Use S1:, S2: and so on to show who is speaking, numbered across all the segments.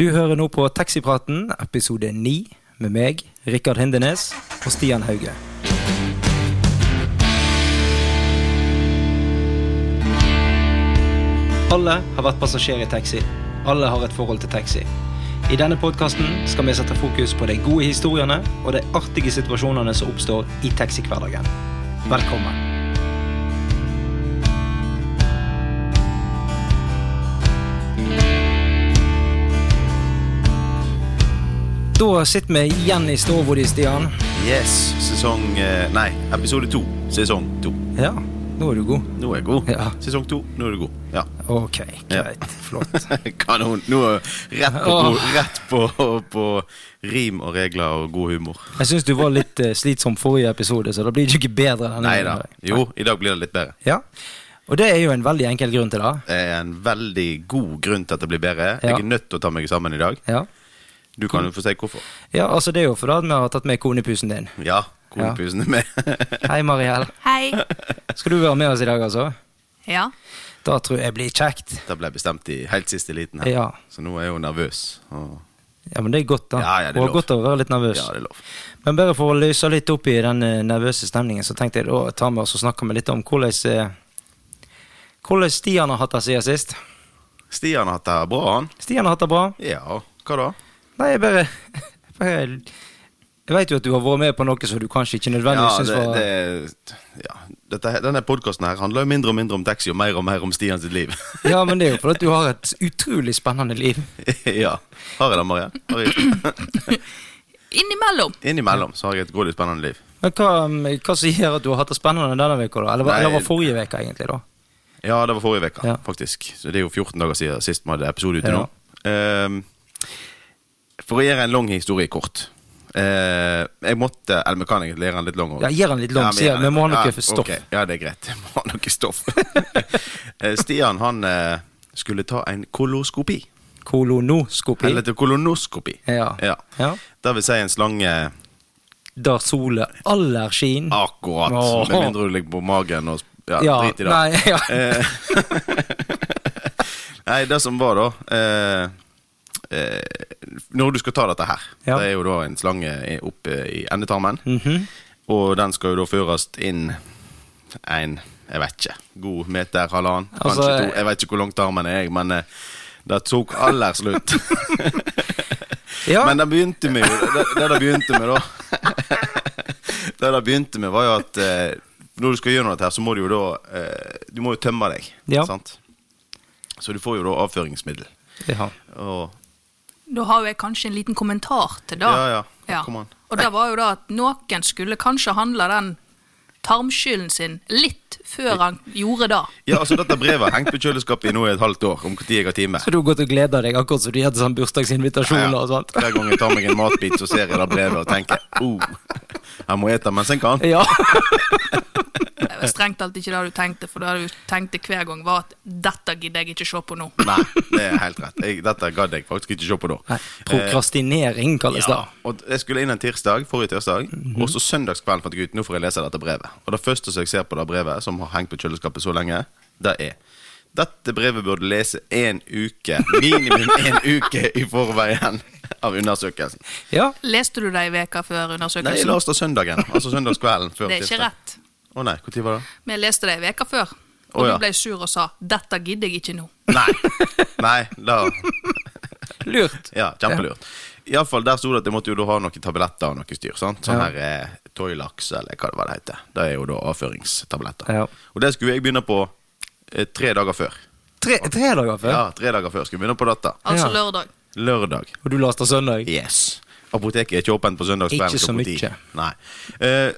S1: Du hører nå på Taxipraten, episode 9, med meg, Rikard Hindenes og Stian Hauge. Alle har vært passasjer i taxi. Alle har et forhold til taxi. I denne podkasten skal vi sette fokus på de gode historiene og de artige situasjonene som oppstår i taxihverdagen. Velkommen. Da sitter vi igjen i stovhodet, Stian.
S2: Yes, sesong eh, Nei, episode to. Sesong to.
S1: Ja, nå er du god.
S2: Nå er jeg god.
S1: Ja.
S2: Sesong to, nå er du god. Ja.
S1: Ok,
S2: Ja.
S1: greit. Flott.
S2: Kanon. Nå er rett på,
S1: Åh.
S2: god- rett på, på rim og regler og god humor.
S1: Jeg syns du var litt eh, slitsom forrige episode, så da blir det jo ikke bedre. denne
S2: Nei da.
S1: gangen.
S2: Jo, i dag blir det litt bedre.
S1: Ja. Og det er jo en veldig enkel grunn til det.
S2: Det er en veldig god grunn til at det blir bedre.
S1: Ja.
S2: Jeg er nødt til å ta meg sammen i dag.
S1: Ja.
S2: Du kan jo få si hvorfor.
S1: ja, altså det er jo fordi at vi har tatt med konepusen din.
S2: Ja, konepusen er med.
S1: Hei, Mariell.
S3: Hei.
S1: Skal du være med oss i dag, altså?
S3: Ja.
S1: Da tror jeg blir kjekt.
S2: Det ble bestemt i helt siste liten her,
S1: Ja.
S2: så nå er jeg jo nervøs. Og
S1: Ja, men det er godt, da.
S2: Ja, ja, det er
S1: Og
S2: lov.
S1: godt å være litt nervøs.
S2: ja, det er lov.
S1: Men bare for å løse litt opp i den eh, nervøse stemningen, så tenkte jeg da å ta med oss og snakke med litt om hvordan eh, hvordan Stian har hatt det siden sist.
S2: Stian har hatt det bra, han.
S1: Stian har hatt det bra.
S2: Ja, hva da?
S1: Nei, jeg bare, bare Jeg vet jo at du har vært med på noe som du kanskje ikke nødvendigvis
S2: Ja,
S1: syns
S2: det,
S1: var
S2: det, ja. Dette, her- denne podkasten her handler jo mindre og mindre om taxi og mer og mer om Stian sitt liv.
S1: Ja, men det er jo fordi at du har et utrolig spennende liv.
S2: ja. Har jeg det, Maria? Har jeg-
S3: Innimellom.
S2: Innimellom så har jeg et godt og spennende liv.
S1: Men hva, mm, hva som gjør at du har hatt det spennende denne uka, da? Eller, hva-
S2: Nei.
S1: eller var forrige uke, egentlig? da?
S2: Ja, det var forrige uke,
S1: Ja.
S2: faktisk. Så det er jo 14 dager siden sist vi hadde episode ute
S1: Ja.
S2: nå. Ehm, for å gjøre en lang historie kort. Eh, jeg måtte Eller vi kan egentlig gjøre den litt lang. også.
S1: Ja, gjør den litt lang,
S2: Ja, gjør
S1: Stian.
S2: den
S1: Vi må ha
S2: litt-
S1: noe
S2: ja,
S1: stoff.
S2: ok. Ja, det er greit. Vi må ha noe stoff. Eh, Stian, han eh, skulle ta en koloskopi.
S1: Kolonoskopi.
S2: Eller til kolonoskopi.
S1: Ja. Ja.
S2: Det vil si en slange
S1: Der solet aller skin.
S2: akkurat,
S1: Åh.
S2: med mindre du ligger på magen og Ah, ja,
S1: Ja,
S2: drit i det.
S1: nei, ja.
S2: Eh, nei, det som var da eh, eh, Når du skal ta dette her,
S1: Ja. Mhm.
S2: det er jo da en slange i- oppe i endetarmen, og den skal jo da føres inn en jeg vet ikke. God meter, halvannen,
S1: Altså,
S2: kanskje to. Jeg vet ikke hvor langt armen er, jeg, men eh, det tok aller slutt.
S1: Ja,
S2: Men det begynte med jo Det det det begynte med, da Det det begynte med, var jo at eh, når du skal gjøre noe dette her, så må du jo da eh, Du må jo tømme deg.
S1: Ja.
S2: Sant? Så du får jo da avføringsmiddel.
S1: ja.
S2: Og
S3: Da har jo jeg kanskje en liten kommentar til det.
S2: Ja, ja. Kom an.
S3: Og det var jo da at noen skulle kanskje handle den tarmskylden sin litt før han gjorde det.
S2: ja, altså dette brevet har hengt på kjøleskapet i nå i et halvt år, om når jeg har time.
S1: Så du har gått og gleda deg, akkurat som du gjør til sånn bursdagsinvitasjoner og sånt.
S2: Hver gang jeg tar meg en matbit, så ser jeg det brevet og tenker oh, jeg må ete mens jeg kan.
S1: Ja.
S3: Det var strengt talt ikke det du tenkte, for det du tenkte hver gang var at dette gidder jeg ikke se på nå.
S2: Nei, det er helt rett. Jeg, dette gadd jeg faktisk ikke se på da. Eh,
S1: Nei, Prokrastinering kalles det.
S2: Ja, og jeg skulle inn en tirsdag, forrige tirsdag,
S3: Mhm.
S2: og så søndagskvelden fant jeg ut nå får jeg lese dette brevet. Og det første som jeg ser på det brevet, som har hengt på kjøleskapet så lenge, det er dette brevet burde lese en uke, minimum en uke i forveien av undersøkelsen.
S1: Ja.
S3: Leste du det i veka før
S2: Nei, jeg
S3: undersøkelsen?
S2: leste søndagen, altså søndagskvelden før
S3: det er ikke
S2: tirsdag.
S3: rett.
S2: Å nei, når var det?
S3: Vi leste det i veka før, og
S2: Å, ja.
S3: du ble sur og sa 'dette gidder jeg ikke nå'.
S2: Nei, nei, da
S1: Lurt.
S2: Ja, kjempelurt. Iallfall der sto det at jeg måtte jo da ha noen tabletter og noe styr. sant? Sånn her eh, Toilax, eller hva det var det heter. Det er jo da avføringstabletter.
S1: Ja.
S2: Og det skulle jeg begynne på eh, tre dager før.
S1: Tre, tre dager før,
S2: Ja, tre dager før skulle jeg begynne på dette.
S3: Altså
S1: Ja.
S3: lørdag.
S2: Lørdag.
S1: og du lasta søndag.
S2: Yes. Apoteket er ikke åpent på søndagskvelden.
S1: Ikke så
S2: klokka ti.
S1: mye.
S2: Nei. Eh,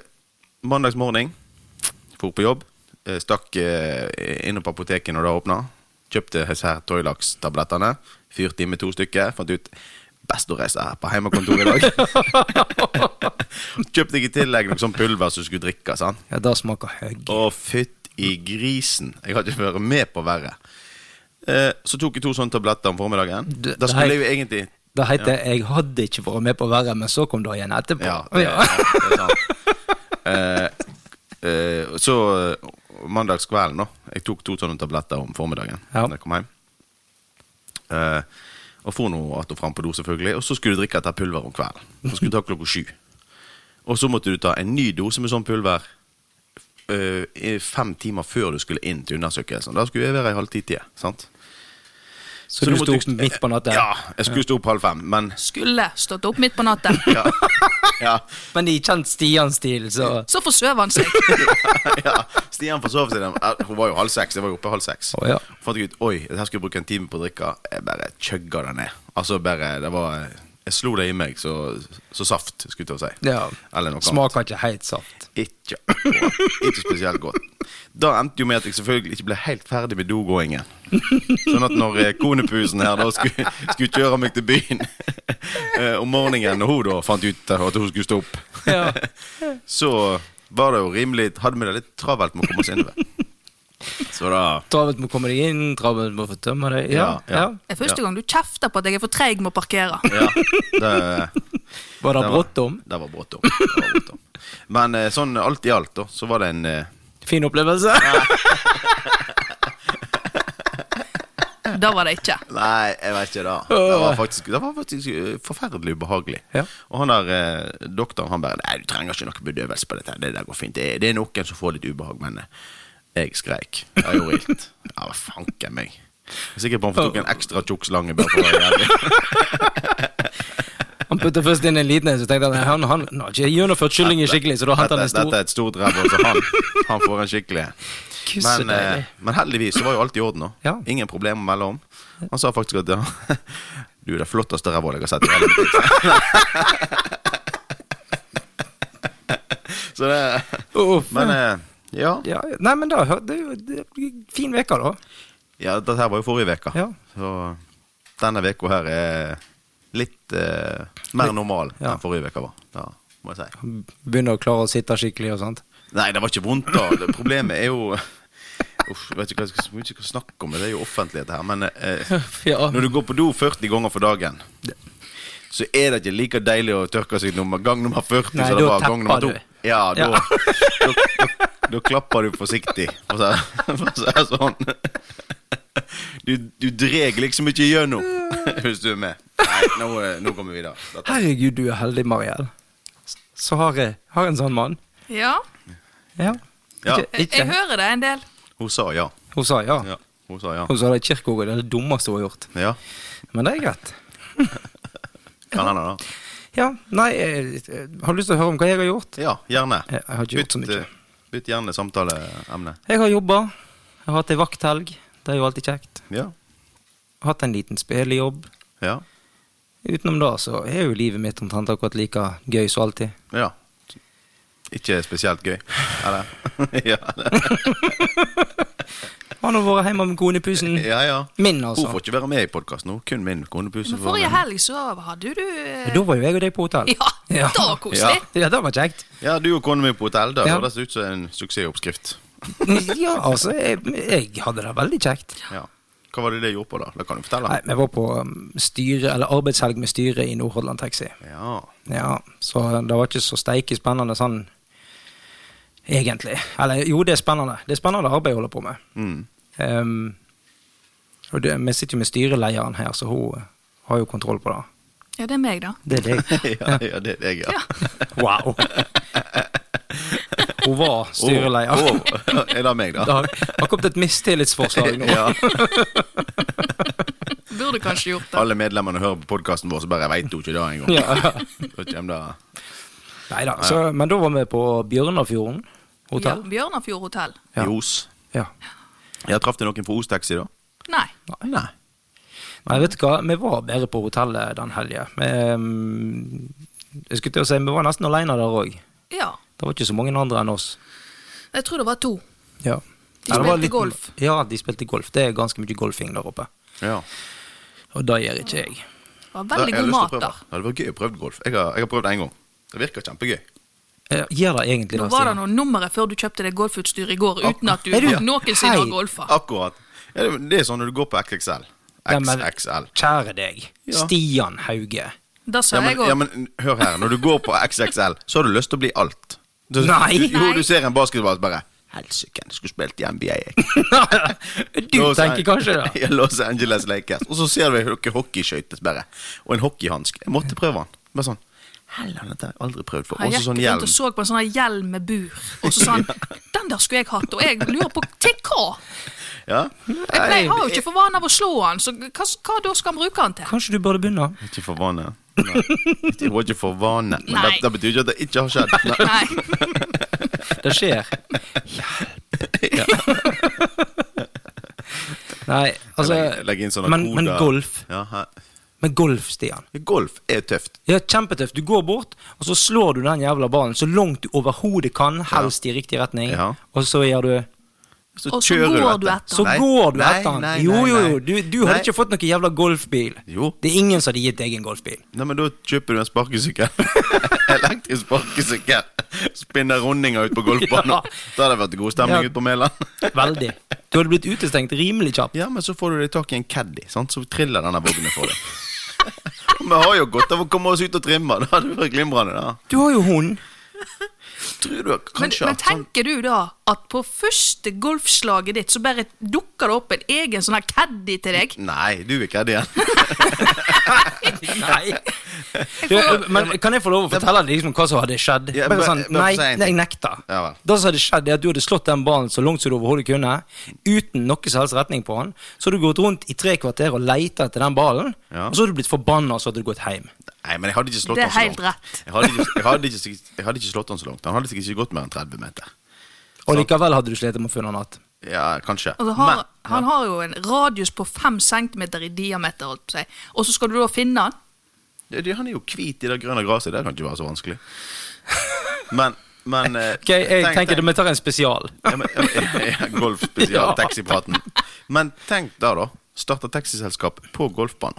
S2: mandags morgen, for på jobb, eh, stakk eh, innom på apoteket når det åpna. Kjøpte disse her Toilax-tablettene. Fyrte i med to stykker. Fant ut best å reise her på hjemmekontoret i dag. Kjøpte jeg i tillegg noe sånn pulver som skulle drikke. sant?
S1: Ja, det smaker høgg.
S2: Å, fytt i grisen. Jeg har ikke vært med på verre. Eh, så tok jeg to sånne tabletter om formiddagen.
S1: Du-
S2: Da skulle
S1: nei.
S2: jeg jo egentlig
S1: Det heter 'Jeg hadde ikke vært med på verre, men så kom det igjen etterpå'.
S2: Ja, det,
S1: Ja.
S2: det er sant. Eh, eh, så eh, mandagskvelden, da. Jeg tok to sånne tabletter om formiddagen
S1: Ja.
S2: da jeg kom hjem. Eh, Og for noe att og fram på do, selvfølgelig. Og så skulle du drikke dette pulveret om kvelden. Så skulle du ta klokka sju. Og så måtte du ta en ny dose med sånn pulver øh, i fem timer før du skulle inn til undersøkelsen. Da skulle jeg være i halv ti-tida. sant?
S1: Så, du
S2: da
S1: sto
S2: måtte
S1: opp midt på natta?
S2: Ja, jeg skulle stå opp halv fem, men
S3: Skulle stått opp midt på natten.
S2: ja, ja,
S1: Men i kjent Stian-stil, så
S3: Så forsøv han seg.
S2: ja. Stian forsov seg. den- eh, Hun var jo halv seks. Jeg var jo oppe halv seks.
S1: Å, ja.
S2: Fant jeg ut Oi, det her skulle jeg bruke en time på å drikke. Jeg bare chugga det ned. Altså bare, det var Jeg slo det i meg så, så saft, skulle jeg til å si.
S1: ja.
S2: Eller noe annet.
S1: Smaker ikke helt saft.
S2: Ikke, ikke spesielt godt. Da endte jo med at jeg selvfølgelig ikke ble helt ferdig med dogåingen. Sånn at når eh, konepusen her da skulle, skulle kjøre meg til byen eh, om morgenen, og hun da fant ut at hun skulle stå opp,
S1: Ja.
S2: så var det jo rimelig Hadde vi det litt travelt med å komme oss innover. Så da
S1: Travelt med å komme deg inn, travelt med å få tømme deg. Ja,
S2: Ja, ja.
S1: ja.
S3: Det er første gang du kjefter på at jeg er for treig med å parkere.
S2: Ja, det
S1: Var det
S2: var-
S1: bråttom?
S2: Det var bråttom. Det var bråttom. Men eh, sånn alt i alt, da, så var det en eh,
S1: Fin opplevelse?
S3: Da var det ikke.
S2: Nei, jeg vet ikke da. Det var faktisk, det var faktisk eh, forferdelig ubehagelig.
S1: Ja.
S2: Og han der eh, doktoren han bare Nei, du trenger ikke noe bedøvelse på dette. her. Det der går fint. Det er, det er noen som får litt ubehag, men eh, jeg skreik. Det gjorde ilt. Ja, hva fanken meg. Jeg er sikker på han tok en ekstra tjukk slange. Bare for å være jævlig.
S1: Han putta først inn en liten en, så tenkte han han, han, han har ikke gjennomført kyllingen skikkelig, så da henter han en
S2: Dette
S1: stor.
S2: er et stort ræv, så han, han får en skikkelig
S1: Gud, så
S2: men, eh,
S1: deilig.
S2: men heldigvis så var jo alt i orden. nå
S1: Ja.
S2: Ingen problemer mellom. Han sa faktisk at ja, du er det flotteste rævhålet jeg har sett i hele mitt liv. Så det
S1: Uff.
S2: Men eh, ja.
S1: ja, nei, men da hørte jeg jo det blir Fin uke, da.
S2: ja dette her var jo forrige uke.
S1: Ja.
S2: Så denne uka her er litt eh, mer normal
S1: Ja.
S2: enn forrige uke var. Da må jeg si.
S1: Begynner å klare å sitte skikkelig og sånt.
S2: Nei, det var ikke vondt, da. Det- Problemet er jo Uff, jeg vet ikke hva jeg skal, jeg vet ikke hva jeg skal snakke om, det er jo offentlighet her. Men eh,
S1: Ja.
S2: når du går på do 40 ganger for dagen, så er det ikke like deilig å tørke seg nummer, gang nummer 40
S1: Nei, da
S2: som det var gang
S1: tapper
S2: nummer
S1: du.
S2: 2. Ja, da,
S1: Ja.
S2: da, da, da klapper du forsiktig, for å si- for å si det sånn. Du, du dreg liksom ikke gjennom, hvis du er med. Nei, nå, eh, nå kommer vi videre. Dette-
S1: Herregud, du er heldig, Mariell. Så har jeg har en sånn mann.
S3: Ja,
S1: Ja.
S2: Ja.
S1: Ikke,
S3: jeg, jeg
S1: ikke.
S3: hører det en del.
S2: Hun sa ja.
S1: Hun sa ja.
S2: ja. Hun sa ja.
S1: Hun sa det i kirkegården. Det er det dummeste hun har gjort.
S2: Ja,
S1: Men det er greit.
S2: kan hende, da.
S1: Ja, nei, jeg, jeg har lyst til å høre om hva jeg har gjort.
S2: Ja, gjerne.
S1: Jeg, jeg har ikke gjort så mye.
S2: eh, bytt gjerne samtaleemne.
S1: Jeg har jobba. Jeg har hatt ei vakthelg. Det er jo alltid kjekt.
S2: Ja.
S1: Hatt en liten spillejobb.
S2: Ja.
S1: Utenom det så er jo livet mitt omtrent akkurat like gøy som alltid.
S2: ja. Ikke spesielt gøy, eller? ja,
S1: Han har vært hjemme med konepusen.
S2: ja, ja.
S1: Min,
S2: Hun får
S1: altså.
S2: ikke være med i podkasten nå. Kun min konepuse.
S3: Men forrige helg så hadde du eh,
S1: Da var jo jeg og deg på hotell.
S3: Ja,
S1: Ja.
S3: da koselig.
S1: Ja, det var kjekt.
S2: Ja, du og kona mi på hotell. Da
S1: Ja.
S2: høres det ut som en suksessoppskrift.
S1: Ja, altså, jeg, jeg hadde det veldig kjekt.
S2: Ja. Hva var det det gjorde på, da? Det kan du fortelle.
S1: Nei, jeg var på um, styre, eller arbeidshelg med styret i Nordhordland Taxi.
S2: Ja.
S1: Ja, så det var ikke så steike spennende sånn egentlig. Eller jo, det er spennende. Det er spennende arbeid jeg holder på med.
S2: Mm.
S1: Ehm, og det, vi sitter jo med styrelederen her, så hun eh, har jo kontroll på det.
S3: Ja, det er meg, da.
S1: Det er deg.
S2: ja, ja, det er deg, ja.
S1: Wow. Hun var styreleder.
S2: Å, å, er det meg,
S1: Det
S2: da?
S1: har det har kommet et mistillitsforslag nå.
S2: Ja.
S3: Burde kanskje gjort det.
S2: Alle medlemmene hører på podkasten vår, så bare veit du ikke det engang.
S1: Ja.
S2: Da kommer det
S1: Nei da. så- Men da var vi på Bjørnafjorden
S3: Ja,
S1: hotell.
S3: Bjørnafjord hotell.
S1: Ja.
S2: ljos.
S1: Ja.
S2: Ja, traff du noen fra Os Taxi, da?
S3: Nei.
S2: Nei.
S1: Nei, vet du hva, vi var bedre på hotellet den helgen. Vi, ehm, jeg skulle til å si, vi var nesten alene der òg.
S3: Ja.
S1: Det var ikke så mange andre enn oss.
S3: Jeg tror det var to.
S1: Ja. Nei,
S3: De
S1: det var
S3: spilte golf.
S1: Ja, de spilte golf. Det er ganske mye golfing der oppe.
S2: Ja.
S1: Og det gjør ikke jeg.
S3: Det var
S2: Ja,
S3: veldig
S2: jeg har
S3: god
S2: lyst til
S3: mat
S2: å prøve.
S3: der.
S2: Ja, det var gøy å prøve golf. Jeg har, jeg har prøvd det en gang. Det virker kjempegøy.
S1: Eh, Gjør det egentlig
S3: Nå
S1: det,
S3: var det
S1: Stian?
S3: noe nummeret før du kjøpte deg golfutstyr i går, uten at du
S1: Er du-
S3: noensinne
S1: Hei.
S3: har golfa.
S2: Akkurat. Ja, det- det er sånn når du går på XXL.
S1: Ja, men-
S2: XXL.
S1: Kjære deg,
S2: Ja.
S1: Stian Hauge.
S3: Det
S2: Ja
S3: sa
S2: men,
S3: jeg òg.
S2: ja, men hør her. Når du går på XXL, så har du lyst til å bli alt. Du,
S1: Nei.
S2: Du, jo,
S3: Nei.
S2: du ser en basketball og bare Helsike, jeg skulle spilt i NBA, jeg.
S1: du tenker kanskje det.
S2: Ja, Los Angeles Lakers. Og så ser vi noen hockeyskøyter bare. Og en hockeyhansk. Jeg måtte prøve den. Bare sånn. Heller, dette har jeg aldri prøvd før.
S3: Han
S2: Og så
S3: gikk
S2: sånn
S3: rundt
S2: hjelm.
S3: og så på en sånn her hjelm med bur, og så sa han den der skulle jeg hatt, og jeg lurer på til hva?
S2: Ja.
S3: Jeg pleier, har jo ikke for vane av å slå han, så hva, hva da skal han bruke han til?
S1: Kanskje du burde begynne?
S2: Ikke for vane. Nei. Det var ikke for vane, men
S3: Nei.
S2: det, det betyr ikke at det ikke har skjedd. Nei.
S3: Nei,
S1: Det skjer. Nei, altså
S2: Legg- legg inn sånne
S1: men, men
S2: koder.
S1: golf,
S2: Ja, her.
S1: men golf, Stian.
S2: Golf er tøft.
S1: Ja, kjempetøft. Du går bort, og så slår du den jævla ballen så langt du overhodet kan, helst i riktig retning,
S2: Ja.
S1: og så gjør du
S3: Og så går du etter.
S1: Så
S2: Nei,
S1: går du
S2: nei,
S1: etter han.
S2: nei,
S1: Jo,
S2: nei,
S1: jo,
S2: nei.
S1: jo. Du, du hadde
S2: Nei.
S1: ikke fått noen jævla golfbil.
S2: Jo.
S1: Det er ingen som hadde gitt deg en golfbil.
S2: Nei, men da kjøper du en sparkesykkel. Elektrisk sparkesykkel. Spinner rundinger ut på golfbanen.
S1: Ja.
S2: Da hadde det vært god stemning
S1: Ja.
S2: ute på Mæland.
S1: Veldig. Du hadde blitt utestengt rimelig kjapt.
S2: Ja, men så får du deg tak i en caddy, sant? så triller denne vognen for deg. Vi har jo godt av å komme oss ut og trimme. Det hadde vært glimrende. da.
S1: Du har jo hund.
S2: Tror du
S3: men,
S2: kanskje
S3: men
S2: at sånn
S3: tenker du da at på første golfslaget ditt så bare dukker det opp en egen sånn her caddy til deg?
S2: Nei, du er caddy igjen.
S1: Nei. Du, eh, men kan jeg få lov å fortelle deg liksom hva som hadde skjedd?
S2: Ja,
S1: Bare
S2: bare-
S1: sånn,
S2: bare
S1: nei,
S2: si en ting.
S1: nei, jeg nekter.
S2: Ja vel.
S1: Det som hadde skjedd, er at du hadde slått den ballen så langt som du overhodet kunne, uten noe som helst retning på den. Så hadde du gått rundt i tre kvarter og leita etter den ballen,
S2: Ja.
S1: og så hadde du blitt forbanna, og så hadde du gått hjem.
S2: Nei, men jeg hadde ikke slått
S3: Det er
S2: han så
S3: helt
S2: langt.
S3: rett.
S2: Jeg hadde, ikke, jeg, hadde ikke, sikkert- jeg hadde ikke slått han så langt. Han hadde sikkert ikke gått mer enn 30 meter.
S1: Og likevel hadde du slitt med å finne den igjen.
S2: Ja, kanskje.
S3: Altså, har,
S2: Men-
S3: Han har jo en radius på fem centimeter i diameter, holdt på å si. og så skal du da finne han?
S2: Ja, det- Han er jo hvit i det grønne gresset. Det kan ikke være så vanskelig. Men, men eh,
S1: Ok, jeg tenker
S2: tenk- tenk-
S1: det, vi tar en spesial.
S2: Ja, men- ja, men- ja, Golf
S1: Ja.
S2: spesial, taxipraten. Men tenk da, da. Starte taxiselskap på golfbanen.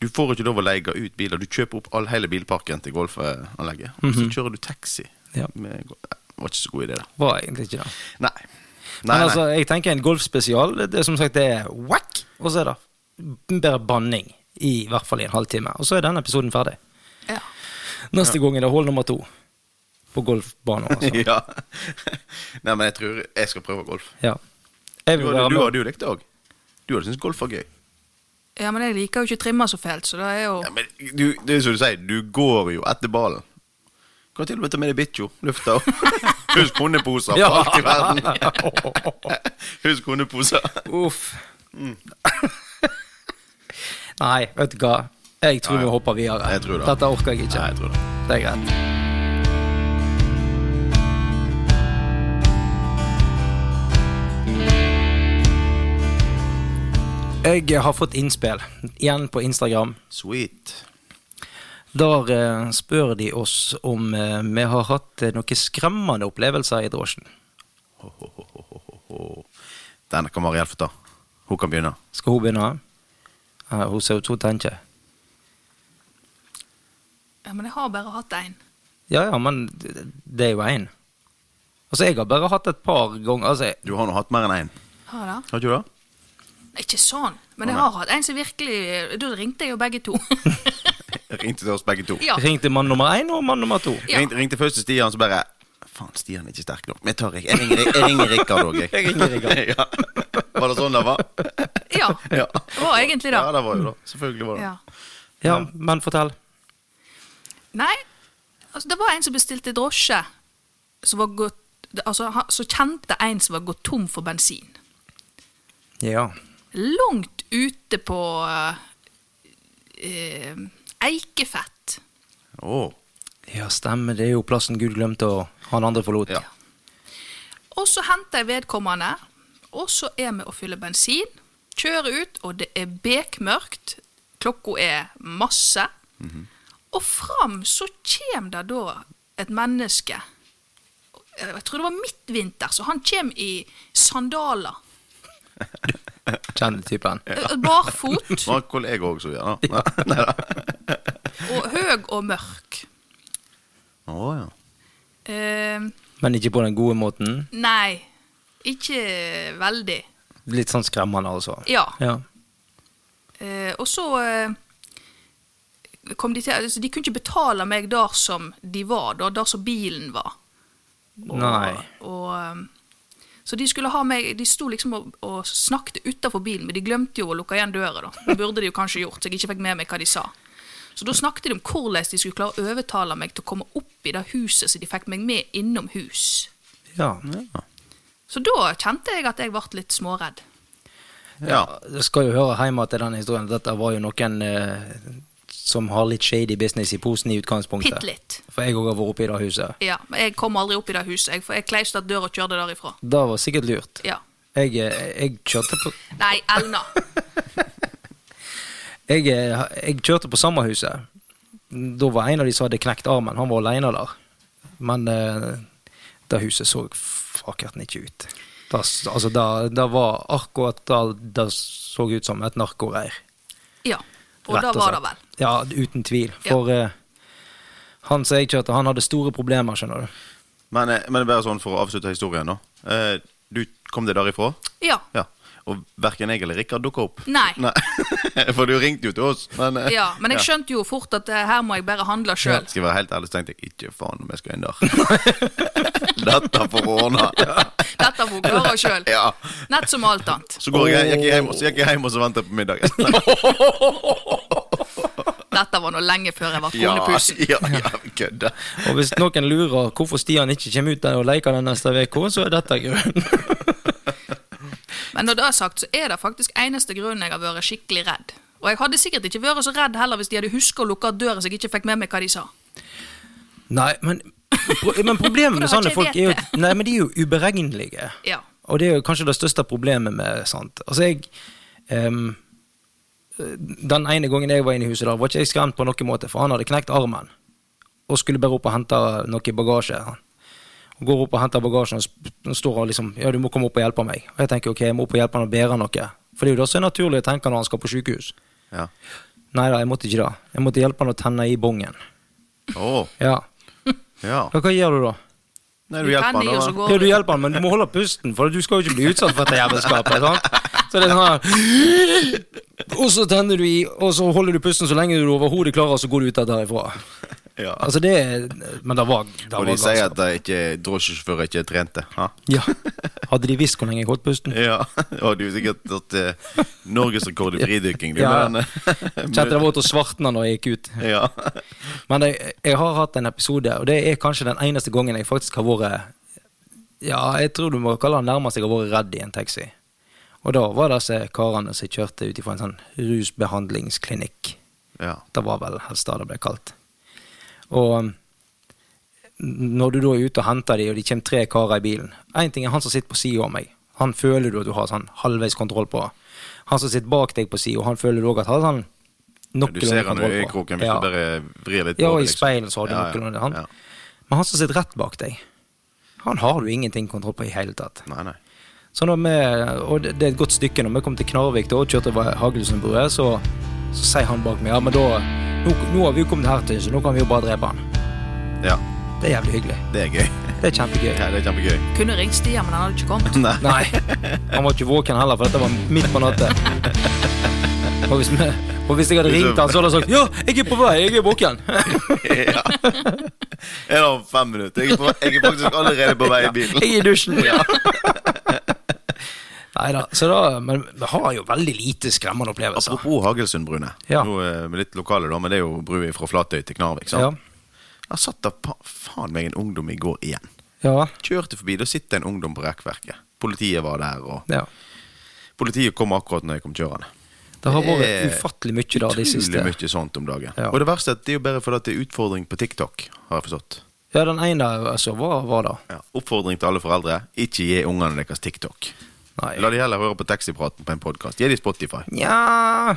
S2: Du får ikke lov å leie ut biler. Du kjøper opp all, hele bilparken til golfanlegget. og Så kjører du taxi.
S1: Mhm. Ja.
S2: Med, go- Nei, det var ikke så god idé, da.
S1: Var egentlig ikke det.
S2: Nei. nei,
S1: Men altså,
S2: nei.
S1: jeg tenker en golfspesial, det, det, som sagt, det er whack, og så er det bare banning. I hvert fall i en halvtime. Og så er denne episoden ferdig.
S3: Ja.
S1: Neste gang er det hull nummer to. På golfbanen, altså.
S2: Ja. Nei, men jeg tror jeg skal prøve golf.
S1: Ja. Jeg vil
S2: Du hadde,
S1: være
S2: du
S1: med.
S2: hadde jo likt det òg. Du hadde syntes golf var gøy.
S3: ja, men jeg liker jo ikke å trimme så fælt, så det er jo
S2: Ja, men du, det er som du sier, du går jo etter ballen. Kan til og med ta med deg bikkja. Lufta og Husk hundeposer for
S1: Ja.
S2: alt i verden. Husk hundeposer.
S1: Uff.
S2: Mm.
S1: Nei, vet du hva. Jeg tror
S2: Nei.
S1: vi hopper videre.
S2: Jeg tror det.
S1: Dette orker jeg ikke.
S2: Nei, jeg tror det.
S1: Det er greit. Jeg har fått innspill igjen på Instagram.
S2: Sweet.
S1: Der eh, spør de oss om eh, vi har hatt eh, noen skremmende opplevelser i drosjen.
S2: Ho, ho, ho, ho, ho, ho, ho. Denne kan Mariell få ta. Hun kan begynne.
S1: Skal hun begynne? Eh, hun ser ut som hun tenker.
S3: Ja, men jeg har bare hatt én.
S1: Ja ja, men det det er jo én. Altså, jeg har bare hatt et par ganger altså, jeg-
S2: Du har nå hatt mer enn én.
S3: Har jeg det?
S2: Har ikke du det?
S3: Nei, Ikke sånn, men
S2: Å,
S3: jeg
S2: nei.
S3: har hatt en som virkelig Da ringte jeg jo begge to.
S2: Jeg Ringte til oss begge to.
S3: ja.
S1: Ringte mann nummer én og mann nummer to.
S3: Ja.
S2: Ringte, ringte først til Stian, så bare Faen, Stian er ikke sterk nok. Men jeg tar jeg, jeg ringer, jeg ringer Rikard òg, jeg.
S1: Jeg ringer Rikard.
S2: ja. Var det sånn det var?
S3: ja.
S2: Ja.
S3: Det var egentlig
S2: Ja,
S3: det.
S2: det var jo det. Selvfølgelig var det
S3: Ja.
S1: Ja, men fortell.
S3: Nei, altså, det var en som bestilte drosje, som var gått Altså, han- så kjente en som var gått tom for bensin.
S1: Ja.
S3: Langt ute på eh, eh, Eikefett.
S2: Åh.
S1: ja, stemmer. Det er jo plassen Gud glemte, og han andre forlot.
S2: Ja.
S3: Og så henter jeg vedkommende, og så er vi å fylle bensin. Kjører ut, og det er bekmørkt. Klokka er masse. Og fram så kommer det da et menneske. Jeg tror det var midtvinter, så han kommer i sandaler. Eh,
S1: Kjenner typen.
S3: Barfot
S2: Var en kollega òg som gjør det? Nei da.
S3: og høg og mørk.
S2: Å ja.
S3: Eh,
S1: Men ikke på den gode måten.
S3: nei, ikke veldig.
S1: Litt sånn skremmende, altså.
S3: Ja.
S1: Ja.
S3: Eh, og så eh, kom de til altså, De kunne ikke betale meg der som de var, da, der som bilen var. Og,
S1: Nei.
S3: Og, eh, Så de skulle ha meg, de sto liksom og, og snakket utafor bilen, men de glemte jo å lukke igjen døra. da. Det burde de jo kanskje gjort, så jeg ikke fikk med meg hva de sa. Så da snakket de om hvordan de skulle klare å overtale meg til å komme opp i det huset, så de fikk meg med innom hus.
S1: Ja.
S3: Så da kjente jeg at jeg ble litt småredd.
S2: Ja.
S1: Det skal jo høre hjemme til den historien. Dette var jo noen eh, som har litt shady business i posen i utgangspunktet.
S3: Bitte litt.
S1: For jeg òg har vært oppe i det huset.
S3: Ja, men jeg kom aldri opp i det huset, jeg, for jeg kleiste døra og kjørte derifra.
S1: Det var sikkert lurt.
S3: Ja.
S1: Jeg, eh, jeg kjørte på
S3: Nei, Elna.
S1: jeg, eh, jeg kjørte på samme huset. Da var en av de som hadde knekt armen. Han var alene der. Men eh, det huset så fakkerten ikke ut. Det, s- altså, det, det var akkurat det det så ut som et narkoreir.
S3: Ja. Og da var det vel.
S1: Ja, uten tvil. For eh, han som jeg kjørte, han hadde store problemer, skjønner du.
S2: Men, eh, men det er bare sånn for å avslutte historien, da. Eh, Du kom deg derifra?
S3: Ja.
S2: Ja. Og verken jeg eller Rikard dukka opp.
S3: Nei.
S2: For du ringte jo til oss. Men, eh,
S3: ja. Men jeg skjønte jo fort at eh, her må jeg bare handle sjøl.
S2: Skal jeg være helt ærlig, så tenkte jeg ikke faen om jeg skal inn der. Dette får ordna.
S3: Dette får hun klare sjøl.
S2: Ja.
S3: Nett som alt annet.
S2: Så går jeg, gikk jeg hjem, og så gikk jeg hjem og så venter jeg på middagen.
S3: Dette var nå lenge før jeg var
S2: Ja,
S3: konepusen.
S2: ja, ja, kødde.
S1: Og hvis noen lurer hvorfor Stian ikke kommer ut der og leker den neste uke, så er dette grunnen.
S3: Men når det er sagt, så er det faktisk eneste grunnen jeg har vært skikkelig redd. Og jeg hadde sikkert ikke vært så redd heller hvis de hadde husket å lukke døra så jeg ikke fikk med meg hva de sa.
S1: Nei, men, pro- men problemet med
S3: Hvordan
S1: sånne
S3: har
S1: folk
S3: ikke jeg
S1: er jo, nei, men de er jo uberegnelige.
S3: Ja.
S1: Og det er jo kanskje det største problemet med sånt. Altså, jeg ehm, Den ene gangen jeg var inne i huset, der, var ikke jeg skremt på noen måte, for han hadde knekt armen og skulle bare opp og hente noe bagasje. han. Og går opp og henter bagasjen og sp- og står og liksom Ja, du må komme opp og hjelpe meg. Og jeg tenker ok, jeg må opp og hjelpe han og bære noe. For det er jo det som er naturlig å tenke når han skal på sykehus.
S2: Ja.
S1: Nei da, jeg måtte ikke det. Jeg måtte hjelpe han å tenne i bongen.
S2: Å,
S1: Ja.
S2: ja.
S1: Hva, hva gjør du da?
S2: Nei,
S3: Du
S2: du hjelper
S3: kan
S2: han
S3: ikke, og så
S1: Ja,
S2: da.
S3: går
S1: du
S3: du.
S1: hjelper han, men du må holde pusten, for du skal jo ikke bli utsatt for dette jævelskapet. Sant? Så det er sånn her Og så tenner du i, og så holder du pusten så lenge du overhodet klarer, og så går du ut derifra.
S2: Ja.
S1: Altså, det er Men det var, det
S2: Og
S1: var
S2: de sier
S1: galskap.
S2: at de ikke- drosjesjåfører ikke er trente. Ha?
S1: Ja. Hadde de visst hvor lenge jeg holdt pusten?
S2: Ja, og du har sikkert hatt eh, norgesrekord i fridykking. Du,
S1: Ja.
S2: men,
S1: Kjente det var til å svartne når jeg gikk ut.
S2: ja.
S1: Men jeg, jeg har hatt en episode, og det er kanskje den eneste gangen jeg faktisk har vært Ja, jeg tror du må kalle det nærmest jeg har vært redd i en taxi. Og da var det disse karene som kjørte ut ifra en sånn rusbehandlingsklinikk.
S2: ja.
S1: Det var vel helst det det ble kalt. Og um, når du da er ute og henter de, og det kommer tre karer i bilen Én ting er han som sitter på sida av meg. Han føler du at du har sånn halvveis kontroll på. Han som sitter bak deg på sida, han føler du òg at han har sånn
S2: Du
S1: noenlunde
S2: ser han
S1: kontroll
S2: jo i
S1: på.
S2: kroken hvis
S1: Ja.
S2: du bare vrir litt
S1: Ja,
S2: på
S1: og
S2: det. liksom.
S1: i speilet så har du
S2: Ja, ja,
S1: noenlunde han.
S2: ja.
S1: Men han som sitter rett bak deg, han har du ingenting kontroll på i hele tatt.
S2: Nei, nei.
S1: Så når vi, og det det er et godt stykke, når vi kom til Knarvik da, og kjørte over Hagelsenbrua, så, så sier han bak meg ja, men da, nå, nå har vi jo kommet her til, så nå kan vi jo bare drepe han.
S2: Ja,
S1: Det er jævlig hyggelig.
S2: det er gøy.
S1: Det er kjempegøy.
S2: Ja, det er kjempegøy.
S3: Kunne ringt Stian, men han hadde ikke kommet.
S2: Nei.
S1: Nei, han var ikke våken heller, for dette var midt på natta. Og hvis, vi, og hvis jeg hadde ringt han, så hadde han sagt ja, jeg er på vei, jeg er våken.
S2: Ja. Jeg har fem minutter. Jeg er, på, jeg er faktisk allerede på vei i bilen.
S1: Jeg er i dusjen. Nei da, så da, men vi har jo veldig lite skremmende opplevelser.
S2: Apropos Hagelsundbrune.
S1: Ja.
S2: Nå eh, med litt lokale, da, men det er jo brua fra Flatøy til Knarvik.
S1: Ja.
S2: sant? Der satt da pa- faen meg en ungdom i går igjen.
S1: Ja.
S2: Kjørte forbi, da sitter en ungdom på rekkverket. Politiet var der, og
S1: ja.
S2: politiet kom akkurat når jeg kom kjørende.
S1: Det har vært
S2: Eh,
S1: ufattelig mye da de
S2: Utrolig
S1: siste
S2: mye sånt om dagen.
S1: Ja.
S2: Og det verste er at det er jo bare fordi at det er utfordring på TikTok, har jeg forstått.
S1: Ja, den ene altså, var, var da.
S2: Ja. Oppfordring til alle foreldre, ikke gi ungene deres TikTok. La
S1: Nei.
S2: de heller høre på taxipraten på en podkast. Gi de Spotify.
S1: Nja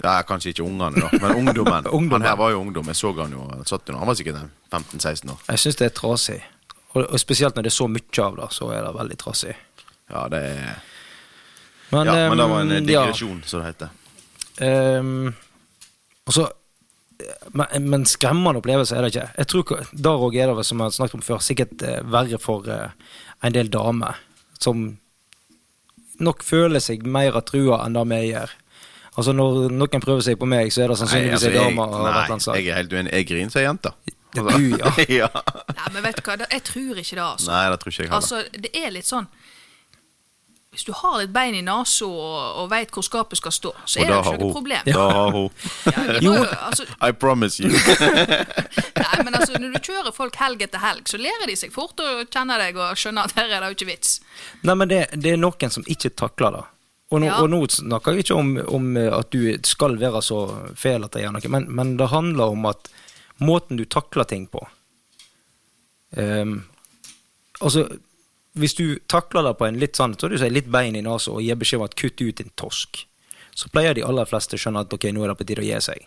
S2: Ja, kanskje ikke ungene, da, men ungdommen.
S1: Ungdommen.
S2: Han her var jo ungdom. Jeg så han jo. Han, satt jo nå. han var sikkert en 15-16 år.
S1: Jeg syns det er trasig. Og, og spesielt når det er så mye av det, så er det veldig trasig.
S2: Ja, det er...
S1: Men,
S2: ja, men det var en
S1: ehm,
S2: digresjon, som det heter.
S1: Ja, ehm, og så men, men skremmende opplevelse er det ikke. Jeg tror ikke- Der òg er det, vel, som jeg har snakket om før, sikkert eh, verre for eh, en del damer. Som nok føler seg mer trua enn det vi gjør. Altså Når noen prøver seg på meg, så er det sannsynligvis ei dame. og et eller annet
S2: altså, nei,
S1: slag.
S2: jeg er helt uenig. Jeg griner som ei jente.
S1: Ja, du, ja.
S2: ja.
S3: Nei, men vet du hva, det- jeg tror ikke det, altså.
S2: Nei, det tror ikke jeg heller.
S3: Altså, det er litt sånn Hvis du har litt bein i nesa og, og veit hvor skapet skal stå, så
S2: Og
S3: er det
S2: da
S3: jo
S2: har
S3: ikke noe
S2: hun.
S3: problem.
S2: Da har hun.
S3: Ja, vi må jo, altså,
S2: I promise you.
S3: Nei, men altså, når du kjører folk helg etter helg, så lærer de seg fort og kjenner deg og skjønner at her er det jo ikke vits.
S1: Nei, men det, det er noen som ikke takler det. Og nå,
S3: Ja.
S1: og nå snakker jeg ikke om, om eh, at du skal være så fæl at det gjør noe, men, men det handler om at måten du takler ting på Ehm, Altså, hvis du takler det på en litt sånn, så du sier litt bein i nesa og gir beskjed om at kutt ut din torsk, så pleier de aller fleste å skjønne at ok, nå er det på tide å gi seg.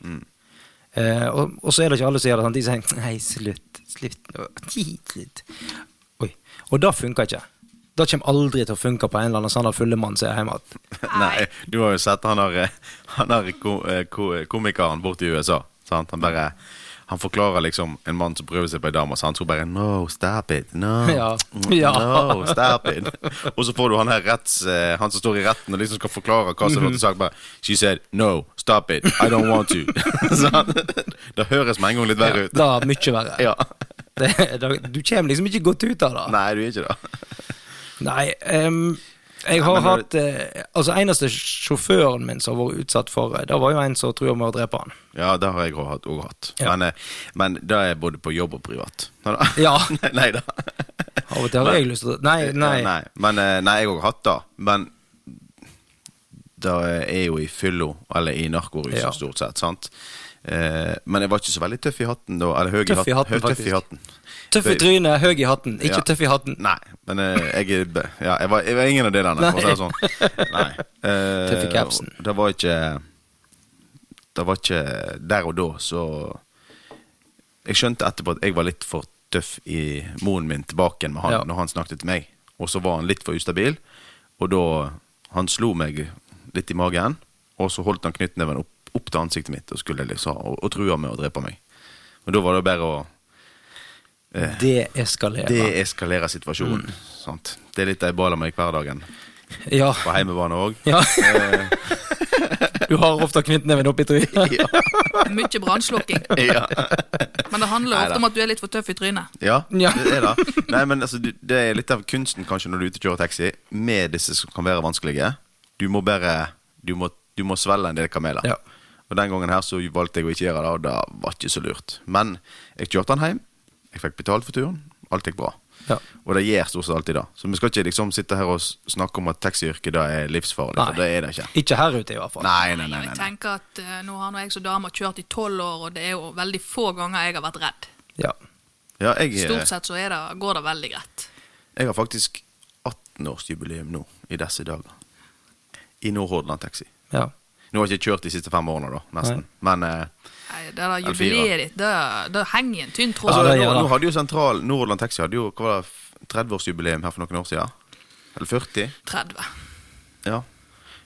S1: Eh, og, og så er det ikke alle som gjør det sånn. De sier nei, slutt, slutt, nå, ti, slutt. Oi. Og det funker ikke. Det kommer aldri til å funke på en eller annen sånn der fulle mann som er hjemme igjen.
S2: Nei, du har jo sett han der, han der ko, eh, ko, komikeren borte i USA. Sant? Han bare han forklarer liksom en mann som prøver seg på ei dame, så han tror bare No, stop it. No. Mm,
S1: Ja. Ja.
S2: No, stop it. Og så får du han her retts, eh, han som står i retten og liksom skal forklare hva som er sagt, bare She said no, stop it. I don't want to. Sånn. Det høres med en gang litt verre ut.
S1: Det er mye verre.
S2: Ja.
S1: Det, det, du kommer liksom ikke godt ut av det.
S2: Nei, du er ikke det.
S1: Nei, ehm, jeg har
S2: men når-
S1: hatt eh, Altså, eneste sjåføren min som har vært utsatt for eh, Det var jo en som trua med å drepe han.
S2: Ja, det har jeg òg hatt. og hatt.
S1: Ja.
S2: Men, eh, men det er både på jobb og privat. Nei da.
S1: Ja.
S2: Nei da.
S1: Av og til har
S2: Men-
S1: jeg lyst til å Nei, nei.
S2: Ja, nei. Men, eh, nei, jeg har hatt det. Men det er jo i fyllo, eller i narkorus,
S1: Ja.
S2: stort sett. sant? Eh, men jeg var ikke så veldig tøff i hatten da. Eller høy i
S1: Tøff i
S2: hatten.
S1: hatten,
S2: høy, tøff
S1: faktisk.
S2: i hatten.
S1: Tøff i trynet, høy i hatten. Ikke
S2: Ja.
S1: tøff i hatten.
S2: Nei, men eh, jeg, er be- ja, jeg, var, jeg var ingen av delene, for å si det sånn. Nei. Eh,
S1: Tøff i capsen.
S2: og Det var ikke Det var ikke der og da, så Jeg skjønte etterpå at jeg var litt for tøff i moren min tilbake igjen med han
S1: Ja.
S2: når han snakket til meg. Og så var han litt for ustabil, og da Han slo meg litt i magen, og så holdt han knyttneven opp, opp til ansiktet mitt og, skulle, liksom, og, og trua med å drepe meg. Og da var det bare å
S1: Det eskalerer.
S2: det eskalerer
S1: Mm.
S2: situasjonen. Sant? Det er litt de baler meg hverdagen.
S1: Ja.
S2: På Eh, hjemmebane òg.
S1: ja. Du har ofte knyttneven oppi trynet.
S2: Ja.
S3: Mye brannslukking.
S2: Ja.
S3: Men det handler
S2: Neida.
S3: ofte om at du er litt for tøff i trynet.
S2: ja,
S1: Ja.
S2: det er det. Nei, men altså, du- det er litt av kunsten kanskje når du er ute og kjører taxi, med disse som kan være vanskelige. Du må bare Du må, du må svelge en del kameler.
S1: Ja.
S2: Og den gangen her så valgte jeg å ikke gjøre det, og det var ikke så lurt. Men jeg kjørte han hjem. Jeg fikk betalt for turen. Alt gikk bra.
S1: Ja.
S2: Og det gjør stort sett alltid det. Så vi skal ikke liksom sitte her og s- snakke om at taxiyrket det er livsfarlig, for det er det ikke.
S1: Ikke her ute, i hvert fall.
S2: Nei, nei,
S3: Og
S2: nei, nei,
S3: Jeg
S2: nei.
S3: tenker at eh, nå har nå jeg som dame kjørt i tolv år, og det er jo veldig få ganger jeg har vært redd.
S1: Ja.
S2: Ja, jeg, eh,
S3: Stort sett så er det, går det veldig greit.
S2: Jeg har faktisk 18-årsjubileum nå i disse dager. I Nordhordland Taxi.
S1: ja.
S2: Nå har jeg ikke kjørt de siste fem årene, da, nesten. Men eh,
S3: Nei, det der
S2: Eller fire.
S3: jubileet ditt, det, det henger i en tynn tråd.
S2: altså,
S1: det
S2: nå,
S1: gjør det.
S2: nå hadde jo sentral Nordhordland Taxi hadde jo hva var det, f- 30-årsjubileum her for noen år siden. Eller 40.
S3: 30.
S2: Ja.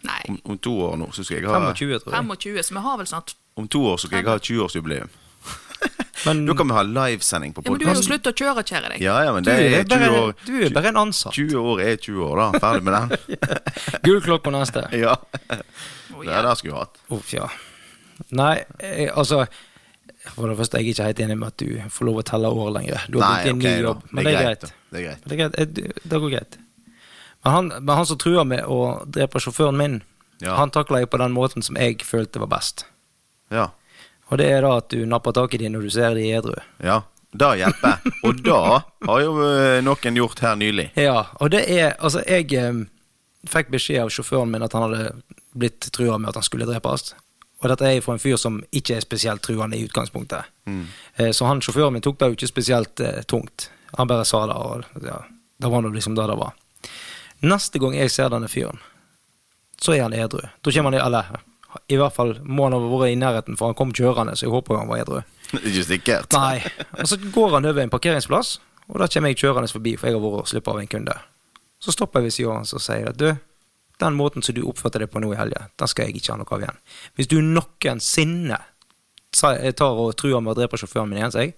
S3: Nei,
S2: Om, om to år nå så skal jeg ha
S1: 25, tror jeg.
S3: 25, så vi har vel snart
S2: Om to år så skal jeg ha 20-årsjubileum.
S1: Men
S2: Da kan vi ha livesending på
S3: Ja, men du har jo
S2: podkast.
S3: sluttet å kjøre, kjære deg.
S2: Ja, ja, men
S1: du
S2: det
S1: er
S2: er 20
S1: bare,
S2: år.
S1: du er bare en ansatt.
S2: 20 år er 20 år, da. Ferdig med den.
S1: Gul klokk på neste.
S2: Ja.
S3: Å,
S2: Det er det jeg skulle hatt.
S1: Uff, ja. Nei, jeg, altså For det første, jeg er ikke helt enig med at du får lov å telle år lenger. Du har
S2: Nei,
S1: begynt i en
S2: ok,
S1: ny
S2: da.
S1: jobb, men det er greit.
S2: da. Det er greit.
S1: Det, er greit. Eh, du- det går greit. Men han, men han som truer med å drepe sjåføren min,
S2: Ja.
S1: han takla jeg på den måten som jeg følte var best.
S2: Ja.
S1: Og det er da at du napper tak i dem når du ser de edru.
S2: Ja, det hjelper. Og det har jo eh, noen gjort her nylig.
S1: Ja, og det er Altså, jeg eh, fikk beskjed av sjåføren min at han hadde blitt trua med at han skulle drepes. Og dette er fra en fyr som ikke er spesielt truende i utgangspunktet. Eh, så han sjåføren min tok det jo ikke spesielt eh, tungt. Han bare sa det, og ja, det var nå liksom det det var. Neste gang jeg ser denne fyren, så er han edru. Da kommer han i Eller i hvert fall må han ha vært i nærheten, for han kom kjørende, så jeg håper jo han var edru.
S2: Ikke sikkert.
S1: Nei. Og så går han over en parkeringsplass, og da kommer jeg kjørende forbi, for jeg har vært og sluppet av en kunde. Så stopper jeg ved siden av hans og sier at du, den måten som du oppførte deg på nå i helga, den skal jeg ikke ha noe av igjen. Hvis du noensinne sa- eh, tar og truer med å drepe sjåføren min igjen, sier jeg,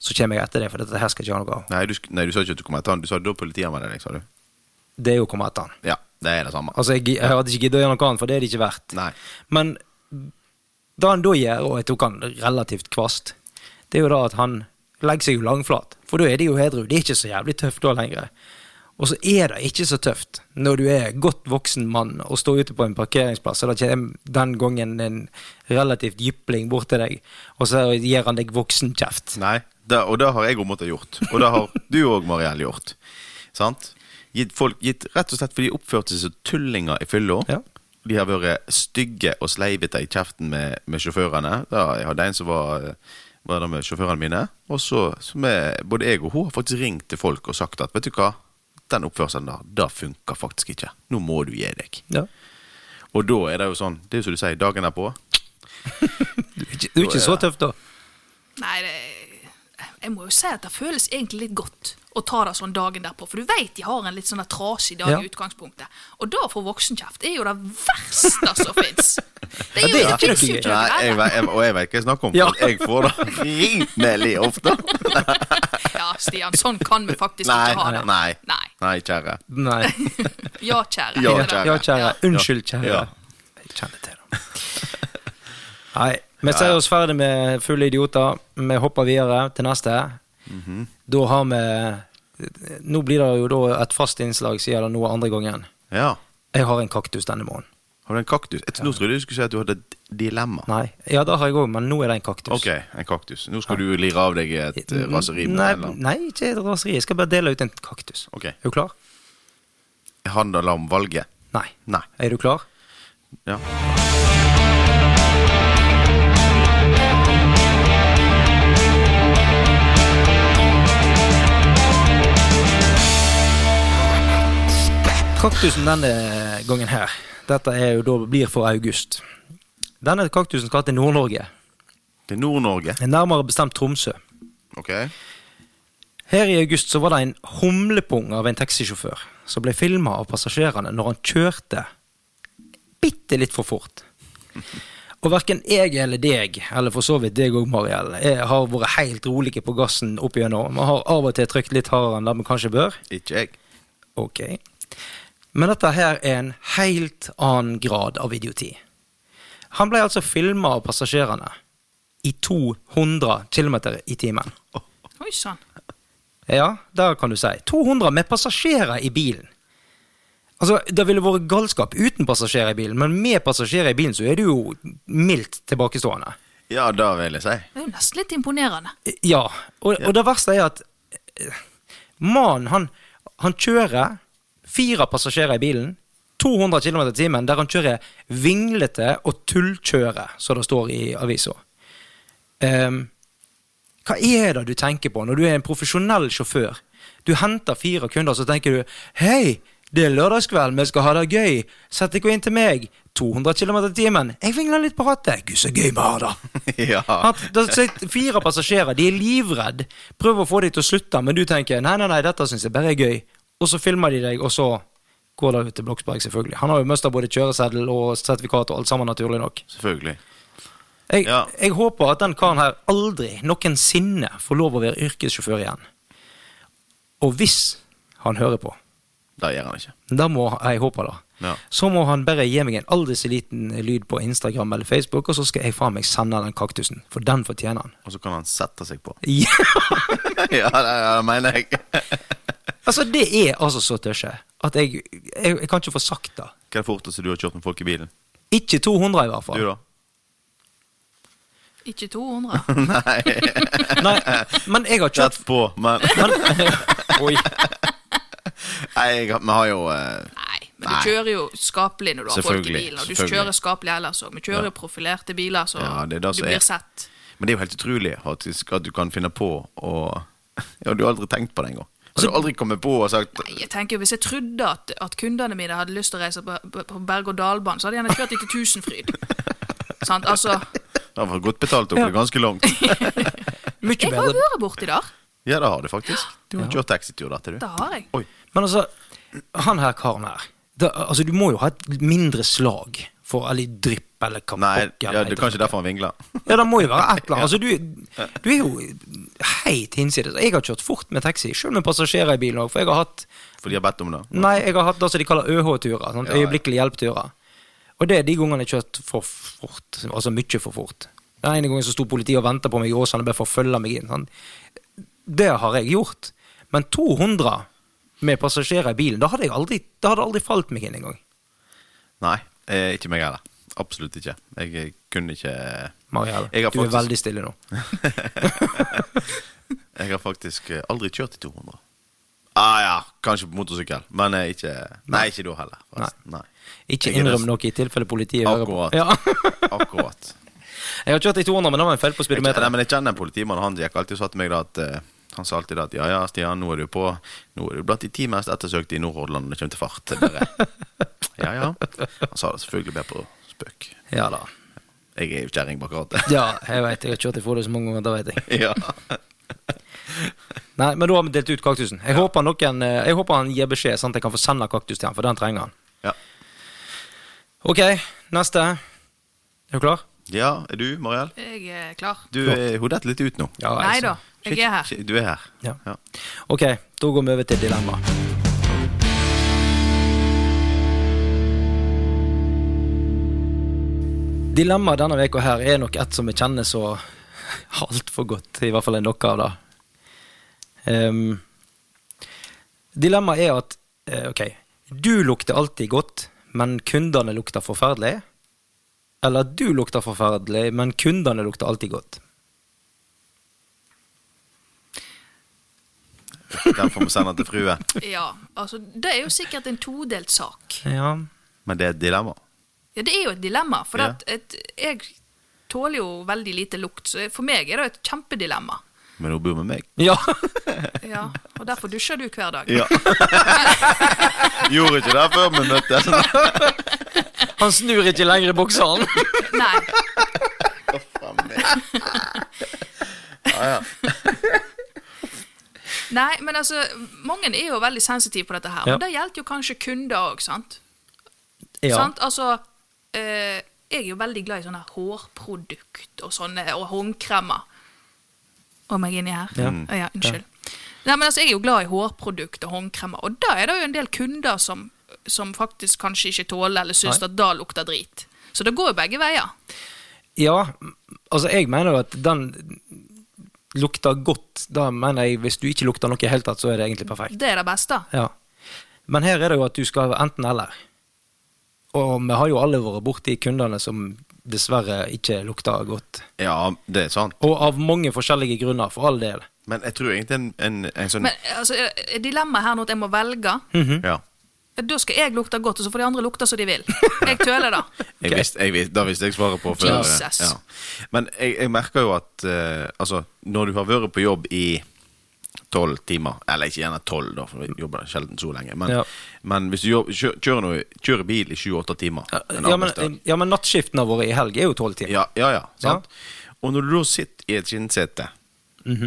S1: så kommer jeg etter deg, for dette her skal jeg ikke ha noe av.
S2: Nei, du, sk- nei, du sa ikke at du kom etter han. Du sa da politianmeldte deg, sa du.
S1: Det er jo å komme etter han.
S2: Ja, det er det samme.
S1: Altså, jeg, gi- jeg hadde ikke giddet å gjøre noe annet, for det er det ikke verdt.
S2: Nei.
S1: Men det han da gjør, og jeg tok han relativt kvast, det er jo da at han legger seg jo langflat. For da er de jo edru. De er ikke så jævlig tøffe da lenger. Og så er det ikke så tøft når du er godt voksen mann og står ute på en parkeringsplass, og det kommer den gangen en relativt jypling bort til deg, og så gir han deg voksenkjeft.
S2: Nei, da, og det har jeg òg måttet gjort. Og det har du òg, Mariell, gjort. Sant? Gitt folk, gitt, rett og slett fordi de oppførte seg som tullinger i fylla.
S1: Ja.
S2: De har vært stygge og sleivete i kjeften med, med sjåførene. Da, jeg hadde en som var, var der med sjåførene mine. Og så som er, både jeg og hun har faktisk ringt til folk og sagt at vet du hva, den oppførselen der, det funker faktisk ikke. Nå må du gi deg.
S1: Ja.
S2: Og da er det jo sånn, det er jo som du sier, dagen derpå.
S1: Du er ikke, du er ikke så tøff da.
S3: Nei, det, jeg må jo si at det føles egentlig litt godt å ta det sånn dagen derpå. For du veit de har en litt sånn der trasig dag
S1: Ja.
S3: i utgangspunktet. Og da å få voksenkjeft er jo det verste som fins.
S1: det
S3: Det er jo
S1: er
S3: det
S1: ikke
S3: finnes
S1: noe
S3: jo
S1: gøy.
S3: ikke
S2: Nei,
S3: noe
S2: jeg,
S3: verre.
S2: vet- jeg, og jeg vet hva jeg snakker om, for
S1: Ja.
S2: jeg får det rimelig ofte.
S3: Ja, Stian, sånn kan vi faktisk
S2: Nei,
S3: ikke ha det.
S2: nei, nei, kjære.
S1: Nei.
S3: Ja, kjære.
S2: Ja,
S3: er det det?
S1: Ja, kjære.
S3: Ja.
S1: Unnskyld, kjære.
S2: Ja.
S1: Jeg kjenner til det. Nei, vi sier oss ferdig med fulle idioter. Vi hopper videre til neste.
S2: Mhm.
S1: Da har vi Nå blir det jo da et fast innslag, sier det nå andre gangen.
S2: Ja.
S1: Jeg har en kaktus denne måneden.
S2: Har du en kaktus? Jeg nå trodde du skulle si at du hadde et dilemma.
S1: Nei, ja, det har jeg òg, men nå er det en kaktus.
S2: Ok, en kaktus. Nå skal du lire av deg et eh, raseri med
S1: nei,
S2: en eller annen.
S1: nei, ikke et raseri. Jeg skal bare dele ut en kaktus.
S2: Ok.
S1: Er du klar?
S2: Handler det om valget?
S1: Nei.
S2: Nei.
S1: Er du klar?
S2: Ja.
S1: Kaktusen denne gangen her, dette er jo da blir for august. Denne kaktusen skal til Nord-Norge,
S2: Til Nord-Norge.
S1: nærmere bestemt Tromsø.
S2: Ok.
S1: Her i august så var det en humlepung av en taxisjåfør som ble filma av passasjerene når han kjørte bitte litt for fort. Og verken jeg eller deg, eller for så vidt deg òg, Mariell, er- har vært helt rolige på gassen opp igjennom. Vi har av og til trykt litt hardere enn det vi kanskje bør.
S2: Ikke jeg.
S1: Ok. Men dette her er en helt annen grad av idioti. Han ble altså filma av passasjerene i 200 km i timen.
S3: Oi sann.
S1: Ja, der kan du si. 200 med passasjerer i bilen. Altså, Det ville vært galskap uten passasjerer i bilen, men med passasjerer i bilen så er du jo mildt tilbakestående.
S2: Ja, det vil jeg si.
S3: Det er jo nesten litt imponerende.
S1: Ja, og, og det verste er at eh, mannen, han, han kjører fire passasjerer i bilen, 200 km i timen, der han kjører vinglete og tullkjører, som det står i avisa. Ehm, hva er det du tenker på når du er en profesjonell sjåfør? Du henter fire kunder, så tenker du 'Hei, det er lørdagskveld, vi skal ha det gøy. Sett dere inn til meg. 200 km i timen. Jeg vingler litt på rattet. Gud, så gøy vi har det.'
S2: ja.
S1: At, da sitter fire passasjerer, de er livredd Prøver å få dem til å slutte, men du tenker nei, nei, nei, dette syns jeg bare er gøy. Og så filmer de deg, og så går det ut til Bloksberg, selvfølgelig. Han har jo mista både kjøreseddel og sertifikat og alt sammen, naturlig nok.
S2: Selvfølgelig.
S1: Jeg,
S2: Ja.
S1: jeg håper at den karen her aldri noensinne får lov å være yrkessjåfør igjen. Og hvis han hører på,
S2: Det gjør han ikke.
S1: da må jeg håpe det.
S2: Ja.
S1: Så må han bare gi meg en aldri så liten lyd på Instagram eller Facebook, og så skal jeg faen meg sende den kaktusen, for den fortjener han.
S2: Og så kan han sette seg på.
S1: Ja.
S2: ja, det, ja, det mener jeg.
S1: Altså, det er altså så tøsje at jeg, jeg, jeg kan ikke få sagt det.
S2: Hva er det forteste du har kjørt med folk i bilen?
S1: Ikke 200, i hvert
S2: Du,
S1: fall.
S2: da?
S3: Ikke 200.
S2: Nei.
S1: Nei, men jeg har kjørt
S2: Sett på, men
S1: men, Oi.
S2: Nei, jeg, har- vi har jo eh,
S3: Nei, men
S2: Nei.
S3: du kjører jo skapelig når du har folk i
S2: Selvfølgelig,
S3: bilen. Og du
S2: selvfølgelig.
S3: kjører skapelig ellers òg. Vi kjører profilerte biler, så
S2: Ja, det er det
S3: du
S2: som er-
S3: blir sett.
S2: Men det er jo helt utrolig at du, at du kan finne på å Ja, du har aldri tenkt på det engang. Har du aldri kommet på og sagt
S3: Nei, Jeg tenker jo, Hvis jeg trodde at, at kundene mine hadde lyst til å reise på, på berg-og-dal-banen, så hadde jeg gjerne kjørt etter Tusenfryd. Sant? Altså,
S2: Det var godt betalt opp, det er ganske langt.
S1: Mye
S3: jeg har
S1: bedre.
S3: vært borti der.
S2: Ja, det har du faktisk. Du har kjørt taxitur der til du.
S3: Det har jeg.
S2: Oi.
S1: Men altså, han her karen her da, Altså, du må jo ha et mindre slag for Eller drypp eller kapokk.
S2: Nei, ja,
S1: eller
S2: det er kanskje derfor han vingler.
S1: Ja, det må jo være et eller annet. Altså, du, du er jo heit hinsides. Jeg har kjørt fort med taxi, sjøl med passasjerer i bilen òg, for jeg har hatt
S2: For de har bedt om det.
S1: Nei, jeg har hatt det som de kaller ØH-turer. Sånn,
S2: Ja, ja.
S1: Øyeblikkelig hjelp-turer. Og det er de gangene jeg har kjørt for fort. Altså mye for fort. Den ene gangen så sto politiet og venta på meg i Åsane bare for å følge meg inn. Sånn. Det har jeg gjort. Men 200 med passasjerer i bilen. Da hadde jeg aldri, da hadde det aldri falt meg inn engang.
S2: Nei, eh, ikke meg heller. Absolutt ikke. Jeg eh, kunne ikke
S1: Marielle,
S2: Jeg har
S1: du er
S2: faktisk-
S1: veldig stille nå.
S2: Jeg har faktisk eh, aldri kjørt i 200. Ah ja, kanskje på motorsykkel, men eh, ikke Nei, ikke da heller. forresten. Nei.
S1: Ikke
S2: Jeg er
S1: innrøm
S2: rest-
S1: noe i tilfelle politiet hører
S2: Akkurat.
S1: på. Ja.
S2: Akkurat.
S1: Jeg har kjørt i 200, men det var en feil på
S2: Jeg, nei,
S1: speedometeret.
S2: men jeg kjenner en politimann, han gikk alltid og sa til meg da at eh, han sa alltid da at ja, ja, Stian, nå er du på Nå er du blant de ti mest ettersøkte i Nordhordland når det kommer til fart. Jeg Bare, ja, ja. Han sa det selvfølgelig bare på spøk.
S1: Ja da.
S2: Jeg er jo kjerring bak rattet.
S1: Ja, jeg vet, jeg har kjørt i Follo så mange ganger, da vet jeg.
S2: Ja.
S1: Nei, men da har vi delt ut kaktusen. Jeg, håper noen, eh, jeg håper han gir beskjed, sånn at jeg kan få sende kaktus til han, for den trenger han.
S2: ja.
S1: Ok, neste. Er du klar?
S2: Ja, er du, Mariell?
S3: Jeg er klar.
S2: Du eh, hun detter litt ut nå.
S1: Ja, jeg
S3: Nei
S1: ser.
S3: da, jeg er her.
S2: Shit, Du er her.
S1: Ja.
S2: Ja.
S1: Ok, da går vi over til dilemma. Dilemmaet denne veka her er nok et som vi kjenner så altfor godt, i hvert fall er noe av det. Ehm, dilemmaet er at eh, ok, du lukter alltid godt, men kundene lukter forferdelig. Eller du lukter forferdelig, men kundene lukter alltid godt.
S2: Den får vi sende til frue.
S3: Ja, altså, Det er jo sikkert en todelt sak.
S1: Ja,
S2: Men det er et dilemma.
S3: Ja, Det er jo et dilemma. For
S2: Ja.
S3: at et, jeg tåler jo veldig lite lukt, så for meg er det et kjempedilemma.
S2: Men hun bor med meg.
S1: ja.
S3: Ja, Og derfor dusjer du hver dag.
S2: Ja. Gjorde ikke det før vi møttes.
S1: Han snur ikke lenger i bokseren.
S3: Nei. Nei, men altså, mange er jo veldig sensitive på dette her.
S1: Ja.
S3: Og det gjelder jo kanskje kunder òg, sant?
S1: Ja.
S3: Sant? Altså, eh, jeg er jo veldig glad i sånne hårprodukt og sånne, og håndkremer. Om jeg er inni her?
S1: Ja.
S3: Å ja unnskyld. Nei, men altså, jeg er jo glad i hårprodukt og håndkremer, og da er det jo en del kunder som, som faktisk kanskje ikke tåler eller syns
S1: Nei.
S3: at da lukter drit. Så det går jo begge veier.
S1: Ja, altså jeg mener jo at den lukter godt. Da mener jeg hvis du ikke lukter noe i det hele tatt, så er det egentlig perfekt.
S3: Det er det beste.
S1: Ja. Men her er det jo at du skal enten-eller. Og vi har jo alle vært borti kundene som dessverre ikke lukter godt.
S2: Ja, det er sant.
S1: Og av mange forskjellige grunner, for all del.
S2: Men jeg tror egentlig en, en, en sånn
S3: Men altså, er- er dilemmaet her nå at jeg må velge?
S2: Ja.
S3: Da skal jeg lukte godt, og så får de andre lukte som de vil. Jeg tøler det.
S2: Jeg visste, jeg visste, da visste jeg svaret på før. eh,
S3: Jesus.
S2: Ja. Men jeg, jeg merker jo at eh, altså, når du har vært på jobb i tolv timer Eller ikke gjerne tolv, da, for vi jobber sjelden så lenge. Men,
S1: Ja.
S2: men hvis du jobb, kjø, kjører, noe, kjører bil i 7-8 timer en
S1: Ja, men,
S2: arbeidsdag.
S1: ja, men nattskiften har vært i helg, er jo tolv timer.
S2: Ja, ja, ja, sant? Og når du da sitter i et skinnsete,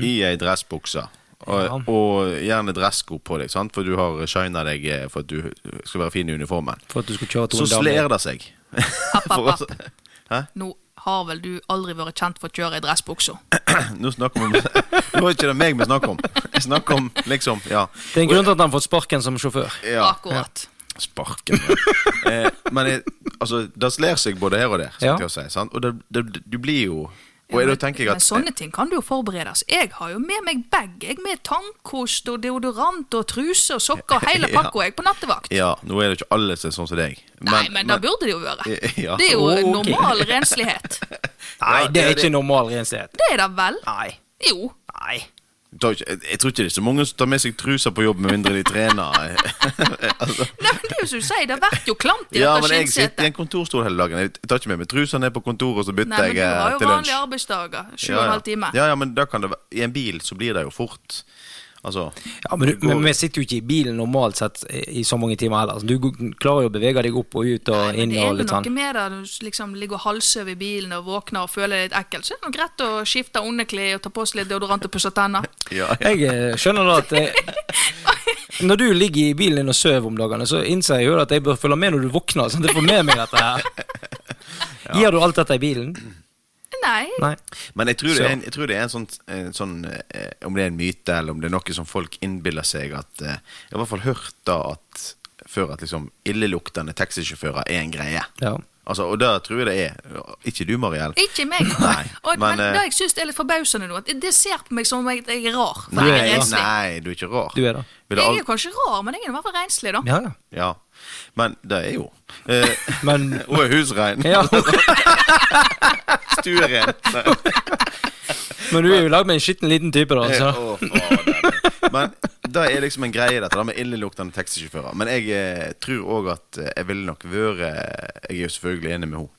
S2: i ei dressbukse, og,
S1: Mhm. Ja.
S2: og gjerne dressko på deg, sant? for du har shina deg eh, for at du skal være fin i uniformen,
S1: For at du skal kjøre to
S2: så sler det seg.
S3: App, app,
S2: For altså- oss-
S3: app.
S2: Hæ?
S3: Nå har vel du aldri vært kjent for å kjøre i dressbuksa?
S2: Nå snakker vi om Nå er ikke det meg vi snakker om. Jeg snakker om liksom Ja.
S1: Det er en grunn til at han har fått sparken som sjåfør.
S2: ja.
S3: Akkurat.
S2: Sparken. Ja. Eh, men jeg, altså, det sler seg både her og der, skal
S1: Ja.
S2: jeg si. Sant? Og det, det, du blir jo Og jeg, da tenker jeg
S3: Men sånn-
S2: at
S3: sånne ting kan du jo forberedes. Jeg har jo med meg bag. Jeg med tannkost og deodorant og truse og sokker og hele
S2: Ja.
S3: pakka jeg på nattevakt.
S2: Ja, nå er det ikke alle som er sånn som deg.
S3: Nei, men det burde det jo være.
S2: Ja.
S3: Det er jo
S1: Ok.
S3: normal renslighet.
S1: Nei,
S2: Ja,
S1: det er
S2: det-
S1: ikke normal renslighet.
S3: Det er det vel?
S1: Nei.
S3: Jo.
S1: Nei.
S2: Da- Jeg jeg tror ikke det er så mange som tar med seg truser på jobb, med mindre de trener. altså,
S3: Nei, men det er jo som du sier, det blir jo klamt i
S2: ja,
S3: dette
S2: men jeg sitter i
S3: skinnsetet.
S2: en kontorstol hele dagen. Jeg tar ikke med meg truser ned på kontoret, og så bytter
S3: Nei, men
S2: jeg
S3: du
S2: eh,
S3: har jo
S2: til lunsj.
S3: vanlige arbeidsdager. Sju
S2: Ja,
S3: og en
S2: ja.
S3: halv time.
S2: Ja, ja, men da kan det være I en bil så blir det jo fort Altså
S1: Ja, men, du, men vi sitter jo ikke i bilen normalt sett i i så mange timer heller. Så Du g- klarer jo å bevege deg opp og ut og inn
S3: Det er
S1: og
S3: jo
S1: litt
S3: noe
S1: sånn.
S3: med det. Du liksom ligger og halvsover i bilen og våkner og føler deg litt ekkel. Så er det noe greit å skifte underklær og ta på seg litt deodorant og pusse tenner.
S2: ja, ja.
S1: Jeg eh, skjønner da at eh, Når du ligger i bilen din og sover om dagene, så innser jeg jo at jeg bør følge med når du våkner, sånn at jeg får med meg dette her. Gir du alt dette i bilen?
S3: Nei.
S1: Nei.
S2: Men jeg tror, det
S1: Så-
S2: er en, jeg tror det er en sånn, en sånn eh, Om det er en myte, eller om det er noe som folk innbiller seg at eh, Jeg har i hvert fall hørt da at før at liksom illeluktende taxisjåfører er en greie.
S1: Ja.
S2: Altså, og det tror jeg det er. Ikke du, Mariell.
S3: Ikke meg.
S2: Nei,
S3: og, men,
S2: men, eh,
S3: det jeg syns er litt forbausende nå, at det ser på meg som om jeg, jeg er rar. for
S2: Nei,
S3: jeg er
S1: ja.
S3: renslig.
S2: nei, du er ikke rar.
S1: Du er det.
S2: Vil
S3: Jeg er
S2: al-
S3: jo kanskje rar, men jeg er i hvert fall renslig, da.
S1: Ja, ja.
S2: Ja. Men det er jo. Eh,
S1: Men
S2: Hun er husrein.
S1: ja.
S2: Stueren. Nei.
S1: Men du er jo i lag med en skitten liten type, da. altså.
S2: Eh,
S1: Så.
S2: å, faen. Men det er liksom en greie, dette da, med illeluktende taxisjåfører. Men jeg eh, tror òg at eh, jeg ville nok vært eh, Jeg er jo selvfølgelig enig med henne.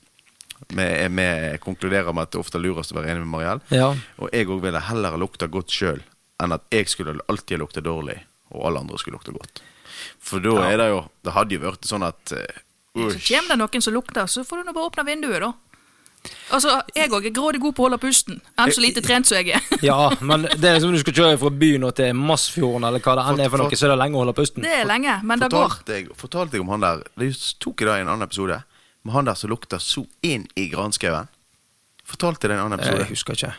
S2: Vi, eh, vi konkluderer med at det er ofte lurest å være enig med Mariell.
S1: Ja.
S2: Og jeg òg ville heller lukte godt sjøl enn at jeg skulle alltid lukte dårlig, og alle andre skulle lukte godt. For da er det jo Det hadde jo vært sånn at eh,
S3: Så
S2: usch.
S3: kommer det noen som lukter, så får du nå bare åpne vinduet, da. Altså, jeg òg er grådig god på å holde pusten, enn så lite trent som jeg er.
S1: ja, men det er som om du skal kjøre fra byen og til Massfjorden, eller hva det enn er for noe, så er det lenge å holde pusten.
S3: Det er lenge, men det går.
S2: Fortalte jeg, fortalte jeg om han der Det tok jeg det i en annen episode. Med han der som lukta så inn i granskauen. Fortalte jeg det i en annen
S1: Jeg
S2: episode.
S1: husker ikke.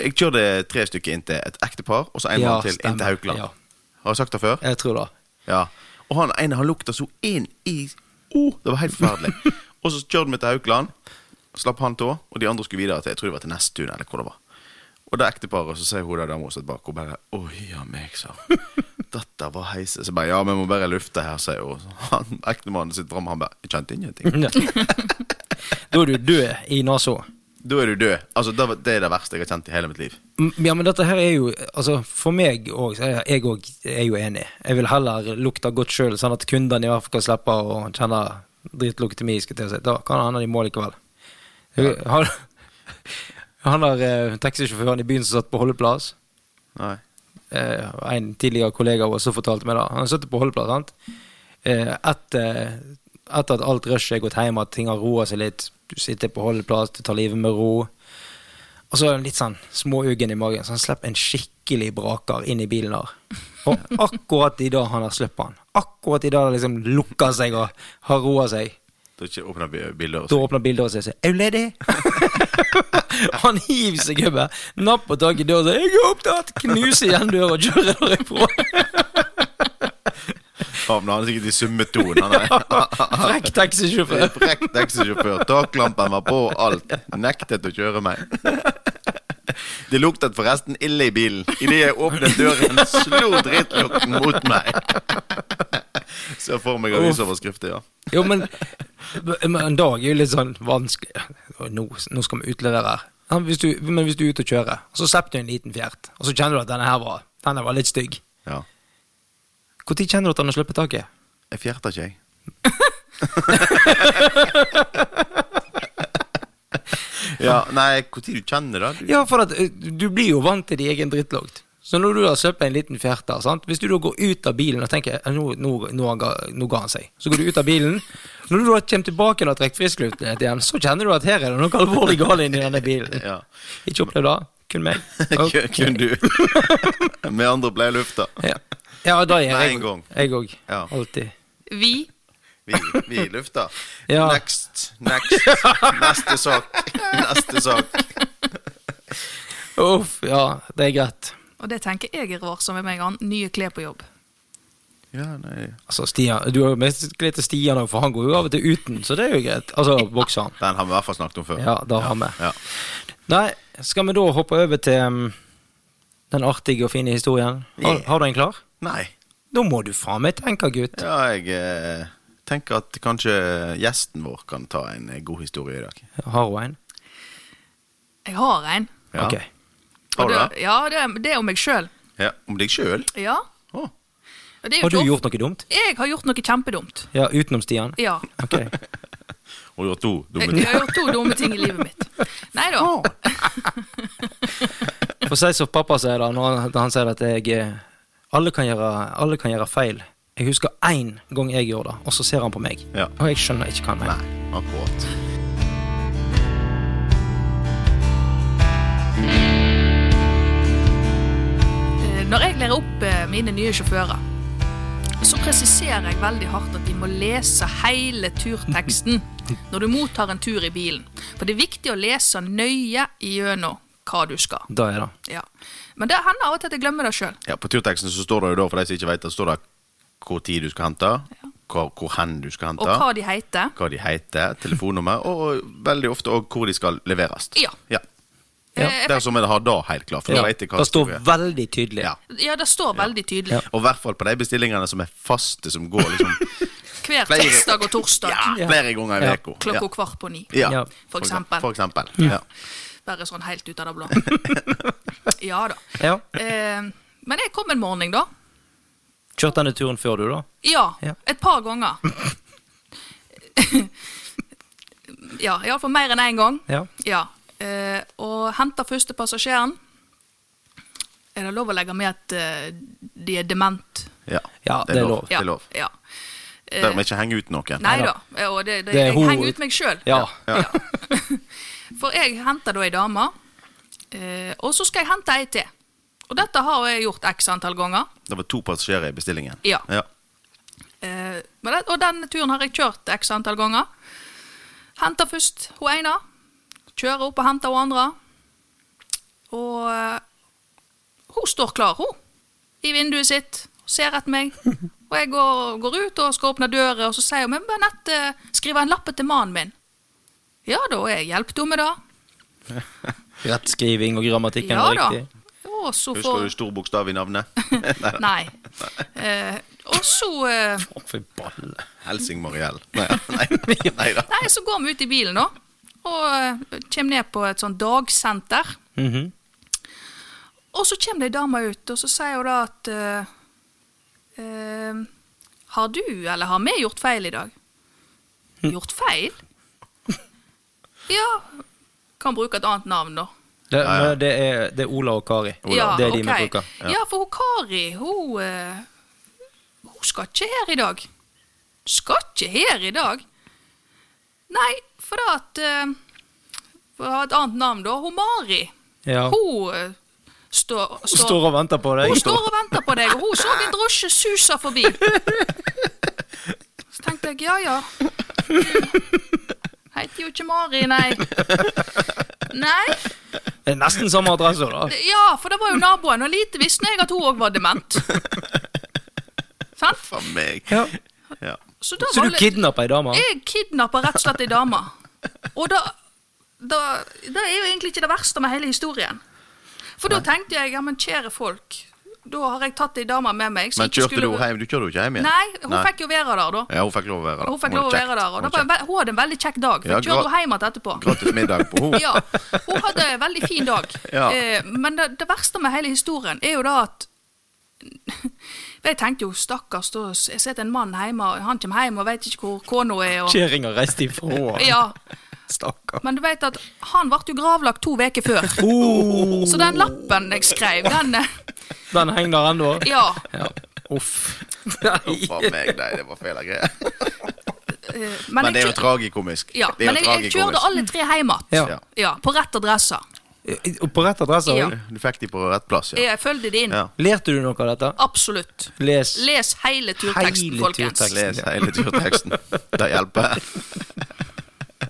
S2: Jeg kjørte tre stykker inn til et ektepar, og så en
S1: Ja,
S2: mann til inn
S1: stemmer.
S2: til Haukeland.
S1: Ja.
S2: Har jeg sagt det før?
S1: Jeg tror det.
S2: Ja. Og han ene han lukta så inn i oh, Det var helt forferdelig. og så kjørte vi til Haukeland, slapp han tå, og de andre skulle videre til jeg tror det var til Nesttun. eller hvor det var. Og det ekteparet, så sier hun der dama som satt bak, og bare Å ja, meg, sa hun. Dette var heise. Så jeg bare Ja, vi må bare lufte her, sier hun. Så Han ektemannen sitter framme, han bare Jeg kjente ingenting.
S1: Ja. Da er du død i nesa.
S2: Da er du død. Altså, det, var- det er det verste jeg har kjent i hele mitt liv.
S1: M- Ja, men dette her er jo Altså, for meg òg, jeg òg er jo enig. Jeg vil heller lukte godt sjøl, sånn at kundene i hvert fall kan slippe å kjenne drittlukt i meg. skal jeg til å si. Da kan han ha det i mål likevel. Han, han der eh, taxisjåføren i byen som satt på holdeplass
S2: Nei.
S1: eh, en tidligere kollega av oss som fortalte meg det. Han satt på holdeplass. sant? Eh, etter, etter at alt rushet er gått hjem, at ting har roa seg litt, du sitter på holdeplass, du tar livet med ro. Og så er han litt sånn småuggen i magen, så han slipper en skikkelig braker inn i bilen der. Og akkurat i dag han har sluppet han, akkurat i dag det liksom lukker seg og har roa seg,
S2: Da ikke åpna bildøra.
S1: da åpner bildøra seg og sier 'Er du ledig?' han hiver seg over, napper tak i døra og sier 'Jeg er opptatt', knuser igjen døra og kjører derifra.
S2: Havna han sikkert i summetonen. Han er
S1: Frekk taxisjåfør.
S2: Frekk taxisjåfør. Taklampen var på og alt. Nektet å kjøre meg. Det luktet forresten ille i bilen. Idet jeg åpnet døren, slo drittlukten mot meg. Så jeg får meg avisoverskrifter, ja.
S1: Jo, men, men dag er jo litt sånn vanskelig Og Nå, nå skal vi utlevere her. Ja, Hvis du, men hvis du er ute og kjører, og så slipper du en liten fjert, og så kjenner du at denne her var, denne var litt stygg
S2: ja.
S1: Når kjenner du at han har sluppet taket?
S2: Jeg fjerter ikke, jeg. ja, nei, når du kjenner det? Du,
S1: Ja, for at ø, du blir jo vant til din egen drittlukt. Så når du har sluppet en liten fjert der, sant? hvis du da går ut av bilen og tenker «Ja, nå, nå, nå, han ga, nå ga han seg, så går du ut av bilen Når du da kommer tilbake og har trukket frisklutten igjen, så kjenner du at her er det noe alvorlig galt inni denne bilen.
S2: Ja.
S1: Ikke opplevd det? Kun meg?
S2: Kun- Kun du. Vi andre ble i lufta.
S1: Ja, ja da er
S2: Nei,
S1: jeg
S2: en gang.
S1: Jeg òg.
S2: Ja.
S1: Alltid.
S3: Vi
S2: Vi, vi i lufta.
S1: Ja.
S2: Next, next. Neste sak. Neste sak.
S1: Uff, ja, det er greit.
S3: Og det tenker jeg er rar, som er meg, han. Nye klær på jobb.
S2: Ja, nei.
S1: Altså, Stian, Du har jo mest glidd til Stian òg, for han går jo av og til uten, så det er jo greit. Altså, bokseren.
S2: Den har vi i hvert fall snakket om før.
S1: Ja, da har vi.
S2: Ja.
S1: Nei, skal vi da hoppe over til mm, den artige og fine historien? Har,
S2: Yeah.
S1: har du en klar?
S2: Nei.
S1: Da må du faen meg tenke, gutt.
S2: Ja, jeg eh, tenker at kanskje gjesten vår kan ta en eh, god historie i dag.
S1: Har hun en?
S3: Jeg har en.
S2: Ja.
S1: Ok.
S2: Har du
S3: det?
S2: det?
S3: Ja, det, det er om meg sjøl.
S2: Ja, om deg sjøl?
S3: Ja.
S2: Å,
S3: Og det er jo
S1: Har du
S3: ikke
S1: gjort noe dumt?
S3: ofte- Jeg har gjort noe kjempedumt.
S1: Ja, utenom Stian?
S3: Ja.
S1: Ok.
S2: og gjort to
S3: Jeg,
S2: dumme
S3: jeg
S2: ting.
S3: har gjort to dumme ting i livet mitt. Nei da.
S2: Å,
S1: For si som pappa sier da, når han, han sier at jeg eh, alle kan, gjøre, alle kan gjøre feil. Jeg husker én gang jeg gjorde det, og så ser han på meg.
S2: Ja.
S1: Og jeg skjønner ikke hva han mener.
S2: Nei, akkurat.
S3: Eh, Når jeg lærer opp eh, mine nye sjåfører, så presiserer jeg veldig hardt at de må lese hele turteksten når du mottar en tur i bilen. For det er viktig å lese nøye gjennom hva du skal.
S1: Da er det.
S3: Ja. Men det hender av og til at jeg glemmer det sjøl.
S2: Ja, på turteksten så står det jo da, for de som ikke vet det, står det hvor tid du skal hente, hva, hvor hen du skal hente,
S3: Og hva de heter.
S2: hva de heter, telefonnummer, og veldig ofte òg hvor de skal leveres.
S3: Ja.
S1: Ja.
S3: Eh,
S2: Der som jeg har da helt klart, for da vet jeg hva
S1: det står
S2: som er.
S1: veldig tydelig.
S2: Ja.
S3: Ja, det står veldig tydelig.
S1: Ja.
S2: Og i hvert fall på de bestillingene som er faste, som går liksom
S3: Hver
S2: Flere-
S3: tirsdag og torsdag
S2: ja, flere ganger i
S1: Ja.
S2: uka.
S3: klokka kvart på ni.
S2: Ja.
S1: Ja. Mm.
S2: Ja.
S3: For eksempel.
S2: For eksempel. Ja.
S3: Bare sånn helt ut av det blå. Ja da.
S1: Ja.
S3: Eh, men jeg kom en morgen, da.
S1: Kjørt denne turen før du, da?
S3: Ja,
S1: Ja.
S3: et par ganger. ja, iallfall mer enn én gang.
S1: Ja.
S3: Ja. Eh, og henter første passasjeren. Er det lov å legge med at eh, de er dement?
S2: Ja.
S1: Ja, det er lov.
S2: Det er lov.
S3: Ja. Eh,
S2: Der må ikke henge ut noen.
S3: Nei da.
S1: Neida.
S3: Eh, Og det, det,
S1: Det er
S3: jeg
S1: hun-
S3: henger ut meg sjøl.
S1: Ja.
S3: For jeg henter da ei dame, eh, og så skal jeg hente ei til. Og dette har jeg gjort x antall ganger.
S2: Det var to passasjerer i bestillingen.
S3: Ja.
S2: ja.
S3: Eh, men det, og den turen har jeg kjørt x antall ganger. Henter først hun ene, kjører opp og henter hun andre. Og eh, hun står klar, hun, i vinduet sitt, ser etter meg. Og jeg går, går ut og skal åpne døra, og så sier hun men Benette, skriver en lappe til mannen min. Ja da, og jeg hjelpte henne med det.
S1: Rettskriving og grammatikken
S3: Ja
S1: var
S3: da.
S1: riktig.
S3: Og så
S2: Husker du
S3: får
S2: stor bokstav i navnet?
S3: Nei. Eh, og så eh,
S1: Å, for balle.
S2: Helsing Mariell. Nei, nei, nei da.
S3: Nei, så går vi ut i bilen, da. Og eh, kommer ned på et sånn dagsenter.
S1: Mhm.
S3: Og så kommer det ei dame ut, og så sier hun da at eh, eh, Har du, eller har vi, gjort feil i dag? Gjort feil? Ja Kan bruke et annet navn, da.
S1: det,
S2: Ja, ja.
S1: men det, er, det er Ola og Kari.
S3: Ja,
S1: det er de
S3: ok.
S1: vi bruker.
S3: Ja. for hun Kari, hun eh, Hun skal ikke her i dag. Skal ikke her i dag? Nei, for det at eh, For å ha et annet navn, da. Hun Mari,
S1: Ja.
S3: hun eh, står,
S1: Hun står og venter på deg.
S3: Hun står og venter på deg, og hun så en drosje suse forbi. Så tenkte jeg ja, ja. Heter jo ikke Mari, nei. Nei.
S1: Det er nesten samme adresse, da.
S3: Ja, for det var jo naboen, og lite visste jeg at hun òg var dement. Sant?
S2: Faen meg.
S1: Ja.
S2: Ja.
S3: Så, da
S1: Så
S3: var
S1: du
S3: litt-
S1: kidnapper ei dame?
S3: Jeg kidnappa rett og slett ei dame. Og da, da, da er jo egentlig ikke det verste med hele historien. For da tenkte jeg ja, men kjære folk, da har jeg tatt ei dame med meg. som
S2: Men
S3: ikke
S2: kjørte du
S3: skulle-
S2: henne hjem? Du kjørte jo ikke hjem igjen?
S3: Nei, hun fikk jo være der, da.
S2: Ja, hun fikk lov å være der.
S3: Hun fikk
S2: Hun
S3: lov å
S2: kjekt.
S3: være der, og
S2: Hun
S3: det var en, ve- hun hadde en veldig kjekk dag. For
S2: Ja,
S3: jeg kjørte
S2: gra-
S3: henne hjem igjen etterpå.
S2: kjekt. Gratis middag på henne.
S3: Ja, hun hadde en veldig fin dag.
S2: Ja.
S3: Eh, Men det, det verste med hele historien er jo da at Jeg tenkte jo, stakkars, da jeg sitter en mann hjemme, og han kommer hjem og vet ikke hvor kona er. Og,
S1: Kjerringa reiste ifra han.
S3: ja,
S1: Stakkar.
S3: men du vet at han ble jo gravlagt to uker før.
S2: Oh.
S3: Så den lappen jeg skrev, den eh,
S1: Den henger der ennå.
S3: Ja.
S1: Ja. Uff.
S2: Faen meg, nei, det var feil greie.
S3: eh,
S2: Men det er
S3: jeg
S2: jo
S3: kjø-
S2: tragikomisk.
S3: Ja,
S2: det er
S3: men
S2: jo
S3: jeg, jeg kjørte
S2: tragikomisk.
S3: alle tre hjem igjen.
S1: Ja.
S3: Ja, på rett adresse.
S1: Og på rett adresse?
S3: Ja.
S1: vel?
S2: Du fikk de på rett plass, ja.
S3: Jeg følte det inn.
S2: Ja.
S1: Lærte du noe av dette?
S3: Absolutt.
S1: Les.
S3: Les hele turteksten,
S1: Hele
S3: folkens.
S1: turteksten.
S2: Les hele turteksten. Det hjelper.
S1: Ja.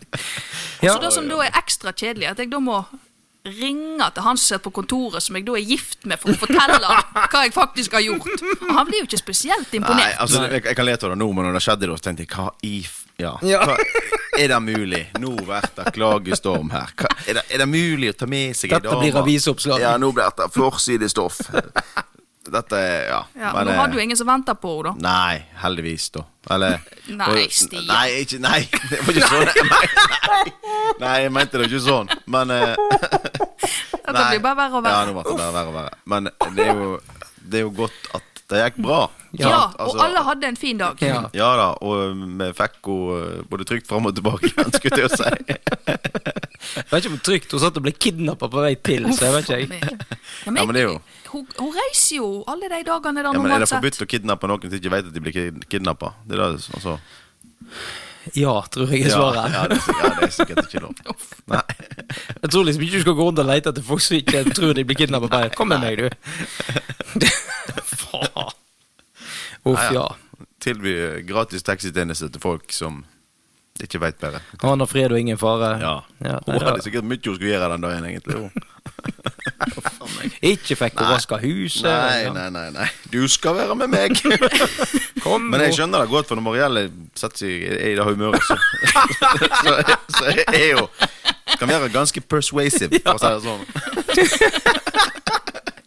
S3: Så altså, det som da er ekstra kjedelig, er at jeg da må ringe til han som er på kontoret, som jeg da er gift med, for å fortelle hva jeg faktisk har gjort. Og han blir jo ikke spesielt
S2: Nei,
S3: imponert.
S2: altså, jeg, jeg kan le av det nå, men når det skjedde, da, så tenkte jeg hva i f... Ja.
S1: Ja.
S2: Hva, er det mulig? Nå blir det klagestorm her. Hva, er, det, er det mulig å ta med seg
S1: Dette blir avisoppslag.
S2: Ja, nå blir det forsidestoff. Dette er Ja.
S3: Ja,
S2: men,
S3: nå
S2: eh,
S3: hadde jo ingen som venta på henne, da.
S2: Nei, heldigvis, da. Eller
S3: Nei, Stian.
S2: Nei, ikke, nei, det var ikke sånn. Nei, nei, nei, jeg mente det ikke sånn, men eh,
S3: Dette blir bare verre og
S2: Ja, nå ble
S3: verre.
S2: det bare verre og verre. Men det er jo, det er jo godt at det gikk bra.
S3: Ja,
S2: sant? Altså,
S3: og alle hadde en fin dag.
S1: Ja.
S2: ja da, og eh, vi fikk henne både trygt fram og tilbake igjen, skulle jeg til å si.
S1: Det var ikke for trygt. Hun satt og ble kidnappa på vei til, så jeg vet ikke. jeg.
S3: Ja,
S2: Ja, men det er jo-
S3: hun, hun reiser jo alle de dagene der
S2: Ja, men Er
S3: normalt
S2: det
S3: sett.
S2: forbudt å kidnappe noen som ikke vet at de blir kidnappa? Det er da, altså
S1: Ja, tror jeg er svaret.
S2: Ja, ja, det, ja, det er sikkert ikke lov. Nei.
S1: Jeg tror liksom ikke du skal gå rundt og lete etter folk som ikke tror de blir kidnappet. Bare, Kom med meg, du. Faen. Uff,
S2: Nei,
S1: ja.
S2: ja. Tilby gratis taxitjeneste til folk som ikke veit bedre.
S1: Han har fred og ingen fare.
S2: Ja.
S1: Ja, nei,
S2: hun liksom-
S1: det
S2: hadde
S1: var-
S2: sikkert mye hun skulle gjøre den dagen, egentlig. hun.
S3: meg.
S1: Ikke fikk
S2: Nei.
S1: overraska huset.
S2: Nei,
S1: ja.
S2: nei, nei, nei. Du skal være med meg!
S1: Kom
S2: Men jeg
S1: nå.
S2: skjønner det godt, for når Marielle setter seg i- i det humøret, så, så, så jeg er jo Kan være ganske persuasive, for å si det sånn.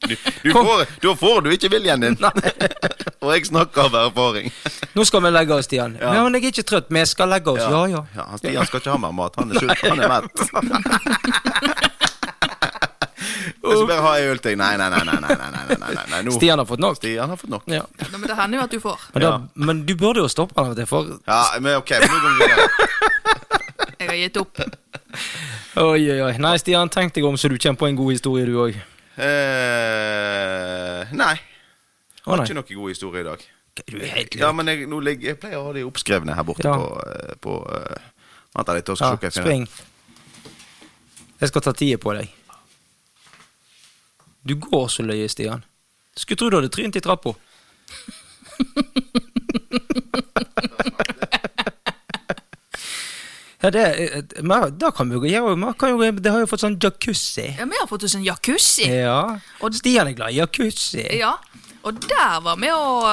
S2: Du, du får, da får du ikke viljen din. Og jeg snakker av erfaring.
S1: Nå skal vi legge oss, Stian. Ja. Men jeg er ikke trøtt, vi skal legge oss. Ja, ja.
S2: Ja, han Stian skal ikke ha mer mat. Han er sulten, han er mett. Og så bare ha ei øl til. Nei, nei, nei. nei, nei, nei, nei, nei, nei, nei. Nå,
S1: Stian har fått nok.
S2: Stian har fått nok.
S1: Ja.
S3: Ja, men det hender jo at du får.
S1: Men, da,
S2: Ja.
S1: men du burde jo stoppe han av og til, for
S2: Ja, men ok, men nå går vi videre.
S3: Jeg har gitt opp.
S1: Oi, oi, oi. Nei, Stian, tenk deg om så du kommer på en god historie, du òg.
S2: Eh, nei.
S1: Å
S2: Ikke
S1: nei.
S2: noe god historie i dag.
S1: Du er helt
S2: Ja, men jeg, nå ligger, jeg pleier å ha de oppskrevne her borte
S1: Ja.
S2: på, eh, på eh, Vent da litt, og så
S1: Ja,
S2: skal jeg finne-
S1: spring. Jeg skal ta tida på deg. Du går så løye, Stian. Skulle tro du hadde trynt i trappa. Ja, det, eh, men da kan vi jo gjøre man kan jo, Det har jo fått sånn jacuzzi.
S3: Ja, vi har fått oss en jacuzzi.
S1: Ja.
S3: Og-
S1: Stian er glad i jacuzzi.
S3: Ja, og der var vi og,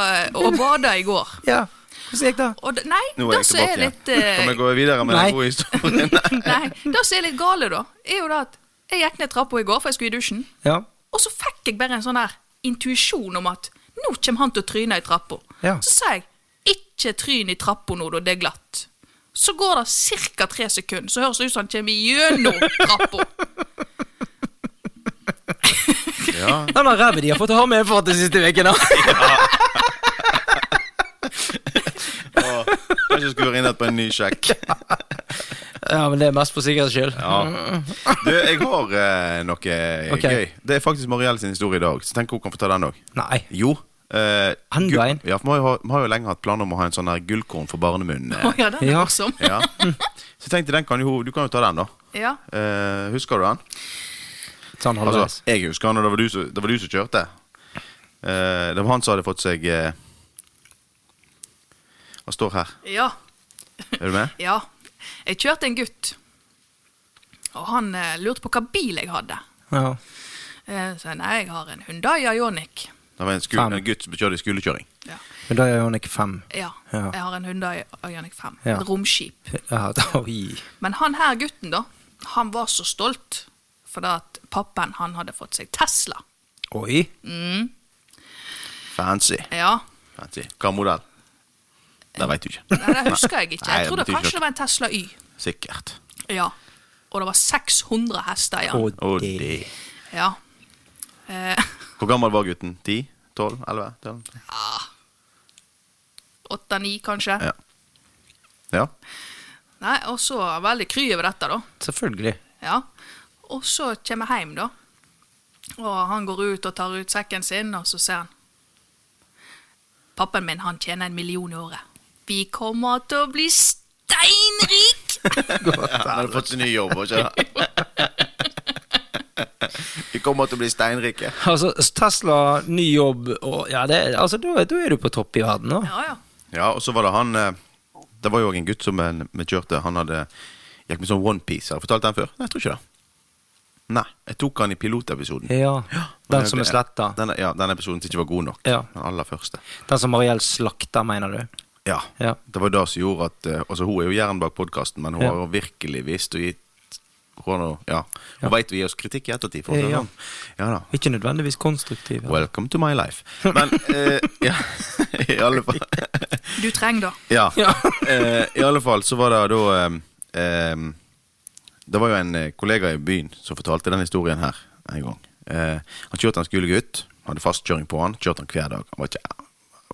S3: og bada i går.
S1: Ja. Hvordan gikk det?
S3: Og d- nei,
S2: Nå er
S3: det
S2: jeg
S3: som er
S2: tilbake igjen.
S3: litt eh,
S2: Kan vi gå videre med
S1: Nei.
S2: den gode historien?
S3: Nei, det som er litt gale, da, er jo det at jeg gikk ned trappa i går, for jeg skulle i dusjen,
S1: Ja.
S3: og så fikk jeg bare en sånn der intuisjon om at nå kommer han til å tryne i trappa.
S1: Ja.
S3: Så sa jeg 'ikke tryn i trappa nå, da, det er glatt'. Så går det ca. tre sekunder, så høres det ut som han kommer gjennom trappa.
S2: Ja.
S1: Den der ræva de har fått ha med for de siste ukene.
S2: Og kanskje skulle vært inne på en ny sjekk.
S1: Ja, men det er mest for sikkerhets skyld.
S2: Ja. Du, jeg har eh, noe
S1: Ok.
S2: gøy. Det er faktisk Marielle sin historie i dag. Så tenk hun kan få ta den òg.
S1: Nei.
S2: Jo. eh,
S1: Enda
S2: gull-
S1: en?
S2: Ja, for vi har, jo- vi har jo lenge hatt planer om å ha en sånn her gullkorn for barnemunn. eh.
S3: Å ja, den er
S1: Ja.
S3: morsom.
S2: Ja. Så jeg tenkte den kan jo, du kan jo ta den, da.
S3: Ja.
S2: Eh, husker du den?
S1: Sånn halvveis.
S2: Altså, jeg husker han, og det var du, som- det var du som kjørte. Eh, det var han som hadde fått seg eh, Han står her.
S3: Ja.
S2: Er du med?
S3: Ja. Jeg kjørte en gutt, og han eh, lurte på hva bil jeg hadde.
S1: Ja.
S3: Eh, Så jeg, nei, jeg har en Hyundai Ioniq.
S2: Det var en, sku,
S1: Fem.
S2: en gutt som kjørte i skolekjøring.
S3: Ja.
S1: Men da er hun ikke fem.
S3: ja,
S1: Ja.
S3: jeg har en Hyundai Ioniq 5.
S1: Ja.
S3: Et romskip.
S1: Ja, da- oi.
S3: Men han her gutten, da, han var så stolt fordi at pappaen han hadde fått seg Tesla.
S1: Oi.
S2: Fancy.
S3: Ja,
S2: Fancy. Hva modell? Det veit du ikke.
S3: Nei, det husker jeg ikke.
S2: Nei,
S3: Jeg tror det
S2: betyr
S3: kanskje
S2: ikke
S3: det var en Tesla Y.
S2: Sikkert.
S3: Ja. Og det var 600 hester i den.
S1: Og
S2: Og
S1: det.
S2: det.
S3: Ja. Eh,
S2: Hvor gammel var gutten? 10? 12? 11? 12?
S3: Åtte-ni, kanskje.
S2: Ja. ja.
S3: Nei, Og så var jeg veldig kry over dette, da.
S1: Selvfølgelig.
S3: Ja. Og så kommer jeg hjem, da. Og han går ut og tar ut sekken sin, og så ser han Pappaen min han tjener en million i året. Vi kommer til å bli steinrik!
S2: Han hadde fått seg ny jobb. og Ikke? Vi kommer til å bli steinrike.
S1: Altså, Tesla, ny jobb og Ja, det, altså, da, da er du på topp i verden, da.
S3: Ja, ja.
S2: Ja, og så var det han eh, Det var jo òg en gutt som eh, vi kjørte. Han hadde gikk med sånn onepiece. Har jeg fortalt den før? Nei, jeg tror ikke det. Nei, jeg tok han i pilotepisoden.
S1: Ja. Den som er
S2: Det-
S1: sletta.
S2: denne- Ja, den episoden som ikke var god nok.
S1: Ja.
S2: Den aller første.
S1: Den som Mariell slakta, mener du?
S2: Ja.
S1: Ja.
S2: Det var det som gjorde at eh, Altså, hun er jo jern bak podkasten, men hun
S1: Ja.
S2: har jo virkelig visst og gitt Hun, har nå- ja. hun veit å gi oss kritikk i ettertid. For å si det
S1: Ja.
S2: sånn. ja da.
S1: Ikke nødvendigvis konstruktiv. ja.
S2: Welcome to my life. Men eh, ja, i alle fall
S3: Du trenger det.
S2: Ja.
S1: Ja.
S2: Eh, I alle fall så var det da ehm, ehm, Det var jo en eh, kollega i byen som fortalte den historien her en gang. Eh, han kjørte en skolegutt, hadde fastkjøring på han, kjørte han hver dag. Han var ikke,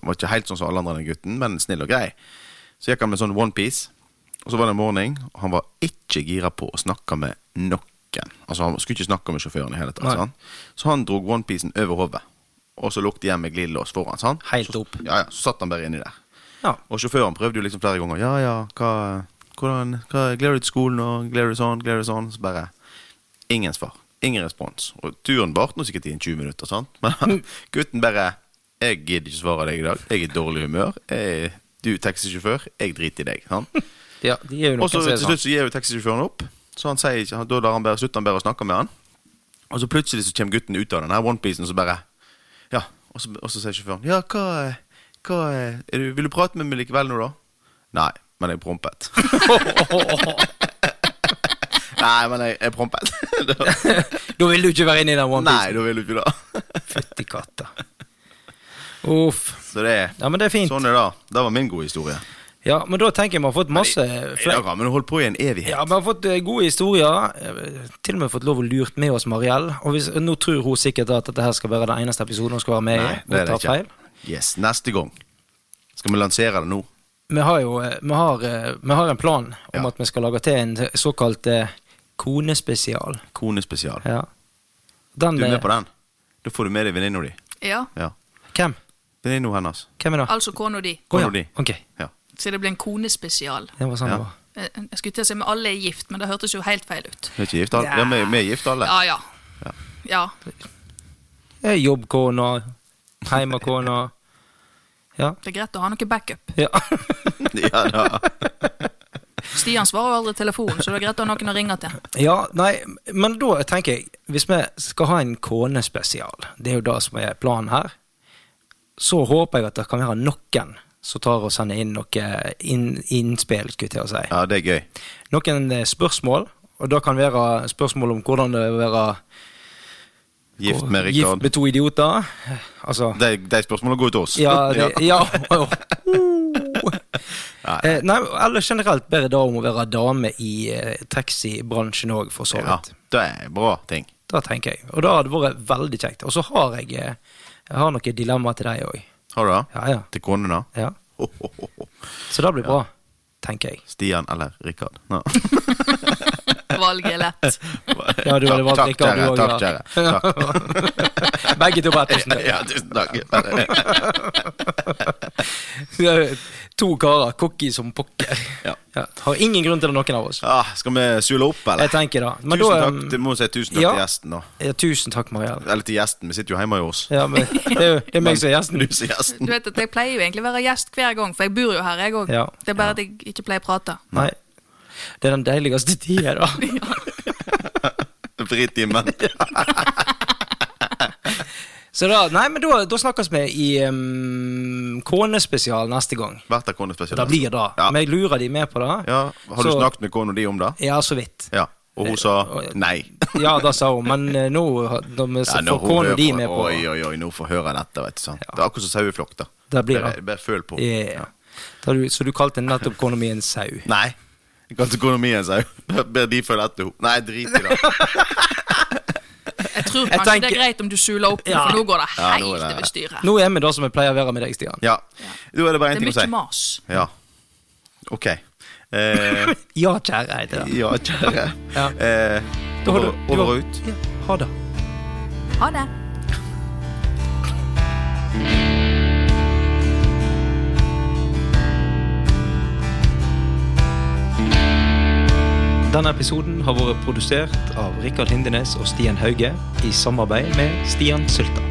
S2: han var ikke helt sånn som alle andre, den gutten, men snill og grei. Så gikk han med sånn onepiece, og så var det en morgen, og han var ikke gira på å snakke med noen. Altså Han skulle ikke snakke med sjåføren i hele tatt.
S1: Nei.
S2: sant? Så han drog onepiecen over hodet, og så lukket igjen med glidelås foran. sant?
S1: Helt
S2: Så-
S1: opp.
S2: Ja, ja, Så satt han bare inni der.
S1: Ja.
S2: Og sjåføren prøvde jo liksom flere ganger. Ja, ja, hva, hvordan, hva Gleder du til skolen, og gleder du sånn, gleder du sånn? Så bare Ingen svar. Ingen respons. Og turen varte nå sikkert i en 20 minutter, sant? Men gutten bare Jeg gidder ikke svare deg i dag. Jeg er i dårlig humør. Jeg, du er taxisjåfør. Jeg driter i deg. sant?
S1: ja de er jo noen
S2: Og så
S1: som er
S2: til
S1: sånn.
S2: slutt så gir jo taxisjåføren opp. Så han sier ikke, Da lar han bare slutter han bare å snakke med han. Og så plutselig så kommer gutten ut av den her onepiecen og så bare Ja, og så, og så sier sjåføren Ja, hva, hva er du, Vil du prate med meg likevel nå, da? Nei, men jeg prompet. Nei, men jeg, jeg prompet. Da-
S1: Da vil du ikke være inne i den
S2: Nei,
S1: onepiecen.
S2: da vil du ikke det.
S1: Fytti katta. Uff.
S2: Så det er
S1: Ja, men det er fint.
S2: sånn er det. Det var min gode historie.
S1: Ja, men da tenker jeg vi har fått masse
S2: I
S1: fle-
S2: dag har vi nå holdt på i en evighet.
S1: Ja, vi har fått eh, gode historier. eh, Til og med fått lov å lurt med oss Mariell. Og hvis, nå tror hun sikkert at dette her skal være den eneste episoden hun skal være med i.
S2: Nei,
S1: og
S2: det er det
S1: tar feil.
S2: ikke. Yes, Neste gang. Skal vi lansere det nå?
S1: Vi har jo eh, vi har, eh, vi har en plan om
S2: Ja.
S1: at vi skal lage til en såkalt eh, konespesial.
S2: Konespesial.
S1: Ja. Den,
S2: Du er
S1: eh,
S2: med på den? Da får du med deg venninna di.
S3: Ja,
S2: Ja.
S1: Hvem?
S2: Venninna hennes.
S1: Hvem er det?
S3: altså kona di.
S1: Å, ja.
S2: Kona di.
S1: Ok,
S2: Ja.
S3: Så det blir en konespesial.
S1: det var sånn
S2: Ja.
S1: det var.
S3: Eh, Jeg skulle til å si med alle er gift, men det hørtes jo helt feil ut.
S2: Vi er ikke gift, alle. Ja, vi, vi er gift alle.
S3: Ja, ja. Ja.
S1: Eh, Jobbkona, heimakona. Ja.
S3: Det er greit å ha noe backup.
S1: ja.
S2: Ja, da.
S3: Stian svarer aldri telefonen, så det er greit å ha noen å ringe til.
S1: ja, nei, men da tenker jeg, hvis vi skal ha en konespesial, det er jo det som er planen her, så håper jeg at det kan være noen som tar og sender inn noe inn, innspill, skulle jeg til å si.
S2: ja, det er gøy.
S1: Noen eh, spørsmål, og det kan være spørsmål om hvordan det er å være
S2: Gift med
S1: gift
S2: Rikard.
S1: med to idioter. Altså
S2: De, de spørsmålene går ut til oss.
S1: Ja, det,
S2: Ja.
S1: ja. åh. Eh, Nei, eller generelt bare da om å være dame i eh, taxibransjen òg, for så
S2: Ja,
S1: vidt.
S2: det er bra ting.
S1: Da tenker jeg. Og det hadde vært veldig kjekt. Og så har jeg, eh, jeg har noen dilemmaer til deg òg.
S2: Har du det?
S1: Ja, ja.
S2: Til konen, da?
S1: Ja.
S2: Ho, ho, ho, ho.
S1: Så det blir bra, tenker jeg.
S2: Stian eller Rikard? No.
S3: Valget er lett.
S1: Ja, du hadde valgt
S2: takk,
S1: Rikard,
S2: kjære.
S1: du
S2: Takk,
S1: også, ja.
S2: kjære. Takk.
S1: Begge to bare tusen
S2: Ja, tusen takk.
S1: takk. To karer, cocky som pokker.
S2: Ja.
S1: Ja. Har ingen grunn til det, noen av oss.
S2: Ah, skal vi sule opp, eller?
S1: Jeg tenker det. Men
S2: tusen
S1: da,
S2: takk,
S1: eh,
S2: Du må si tusen takk
S1: ja.
S2: til gjesten, da.
S1: ja, tusen takk, Marielle.
S2: Eller til gjesten, vi sitter jo hjemme hos oss.
S1: Ja, men, det er jo det er meg som er gjesten.
S2: Du sier gjesten.
S3: Du vet at Jeg pleier jo egentlig å være gjest hver gang, for jeg bor jo her, jeg òg.
S1: Ja.
S3: Det er bare at jeg ikke pleier å prate.
S1: Nei. Det er den deiligste tida, da.
S2: Fritimen.
S1: Så da, nei, men da, da snakkes vi i um, konespesial neste gang.
S2: Vært av konespesialist.
S1: Det blir det.
S2: Ja.
S1: Men jeg lurer de med på det.
S2: ja. Har du
S1: Så-
S2: snakket med kona di om det?
S1: Ja, så vidt.
S2: Ja. Og hun sa
S1: Eh, og-
S2: nei.
S1: Ja, det sa hun, men eh, nå har- når vi
S2: Ja,
S1: får
S2: når hun
S1: kona
S2: hører
S1: di
S2: på-
S1: med på
S2: Oi, oi, oi, nå får jeg høre dette, vet du. sant? Det er akkurat som saueflokk, da.
S1: Det blir
S2: bare,
S1: det.
S2: bare føl på.
S1: yeah. Da du, Så du kalte nettopp kona mi en sau?
S2: Nei. Jeg kan ikke økonomi en sau. Bare de følger etter henne. Nei, drit i det.
S3: Jeg tror
S1: Jeg
S3: kanskje det
S1: tenker-
S3: er greit om du suler opp,
S1: Ja.
S3: for nå går det
S2: Ja,
S3: helt
S2: nå er det-
S3: over styr her.
S1: Nå er vi da som vi pleier å være med deg, Stian.
S2: Ja. Da er det bare én
S3: Det er
S2: ting å si.
S3: mye mas.
S2: Ja. Ok. Eh,
S1: Ja, kjære. er det det.
S2: ja, kjære.
S1: Ja.
S2: Eh,
S1: Da har du-
S2: over,
S1: du har-
S2: over og ut.
S1: Ja, ha det.
S3: Ha det.
S1: Denne episoden har vært produsert av Rikard Hindenes og Stian Hauge i samarbeid med Stian Sylta.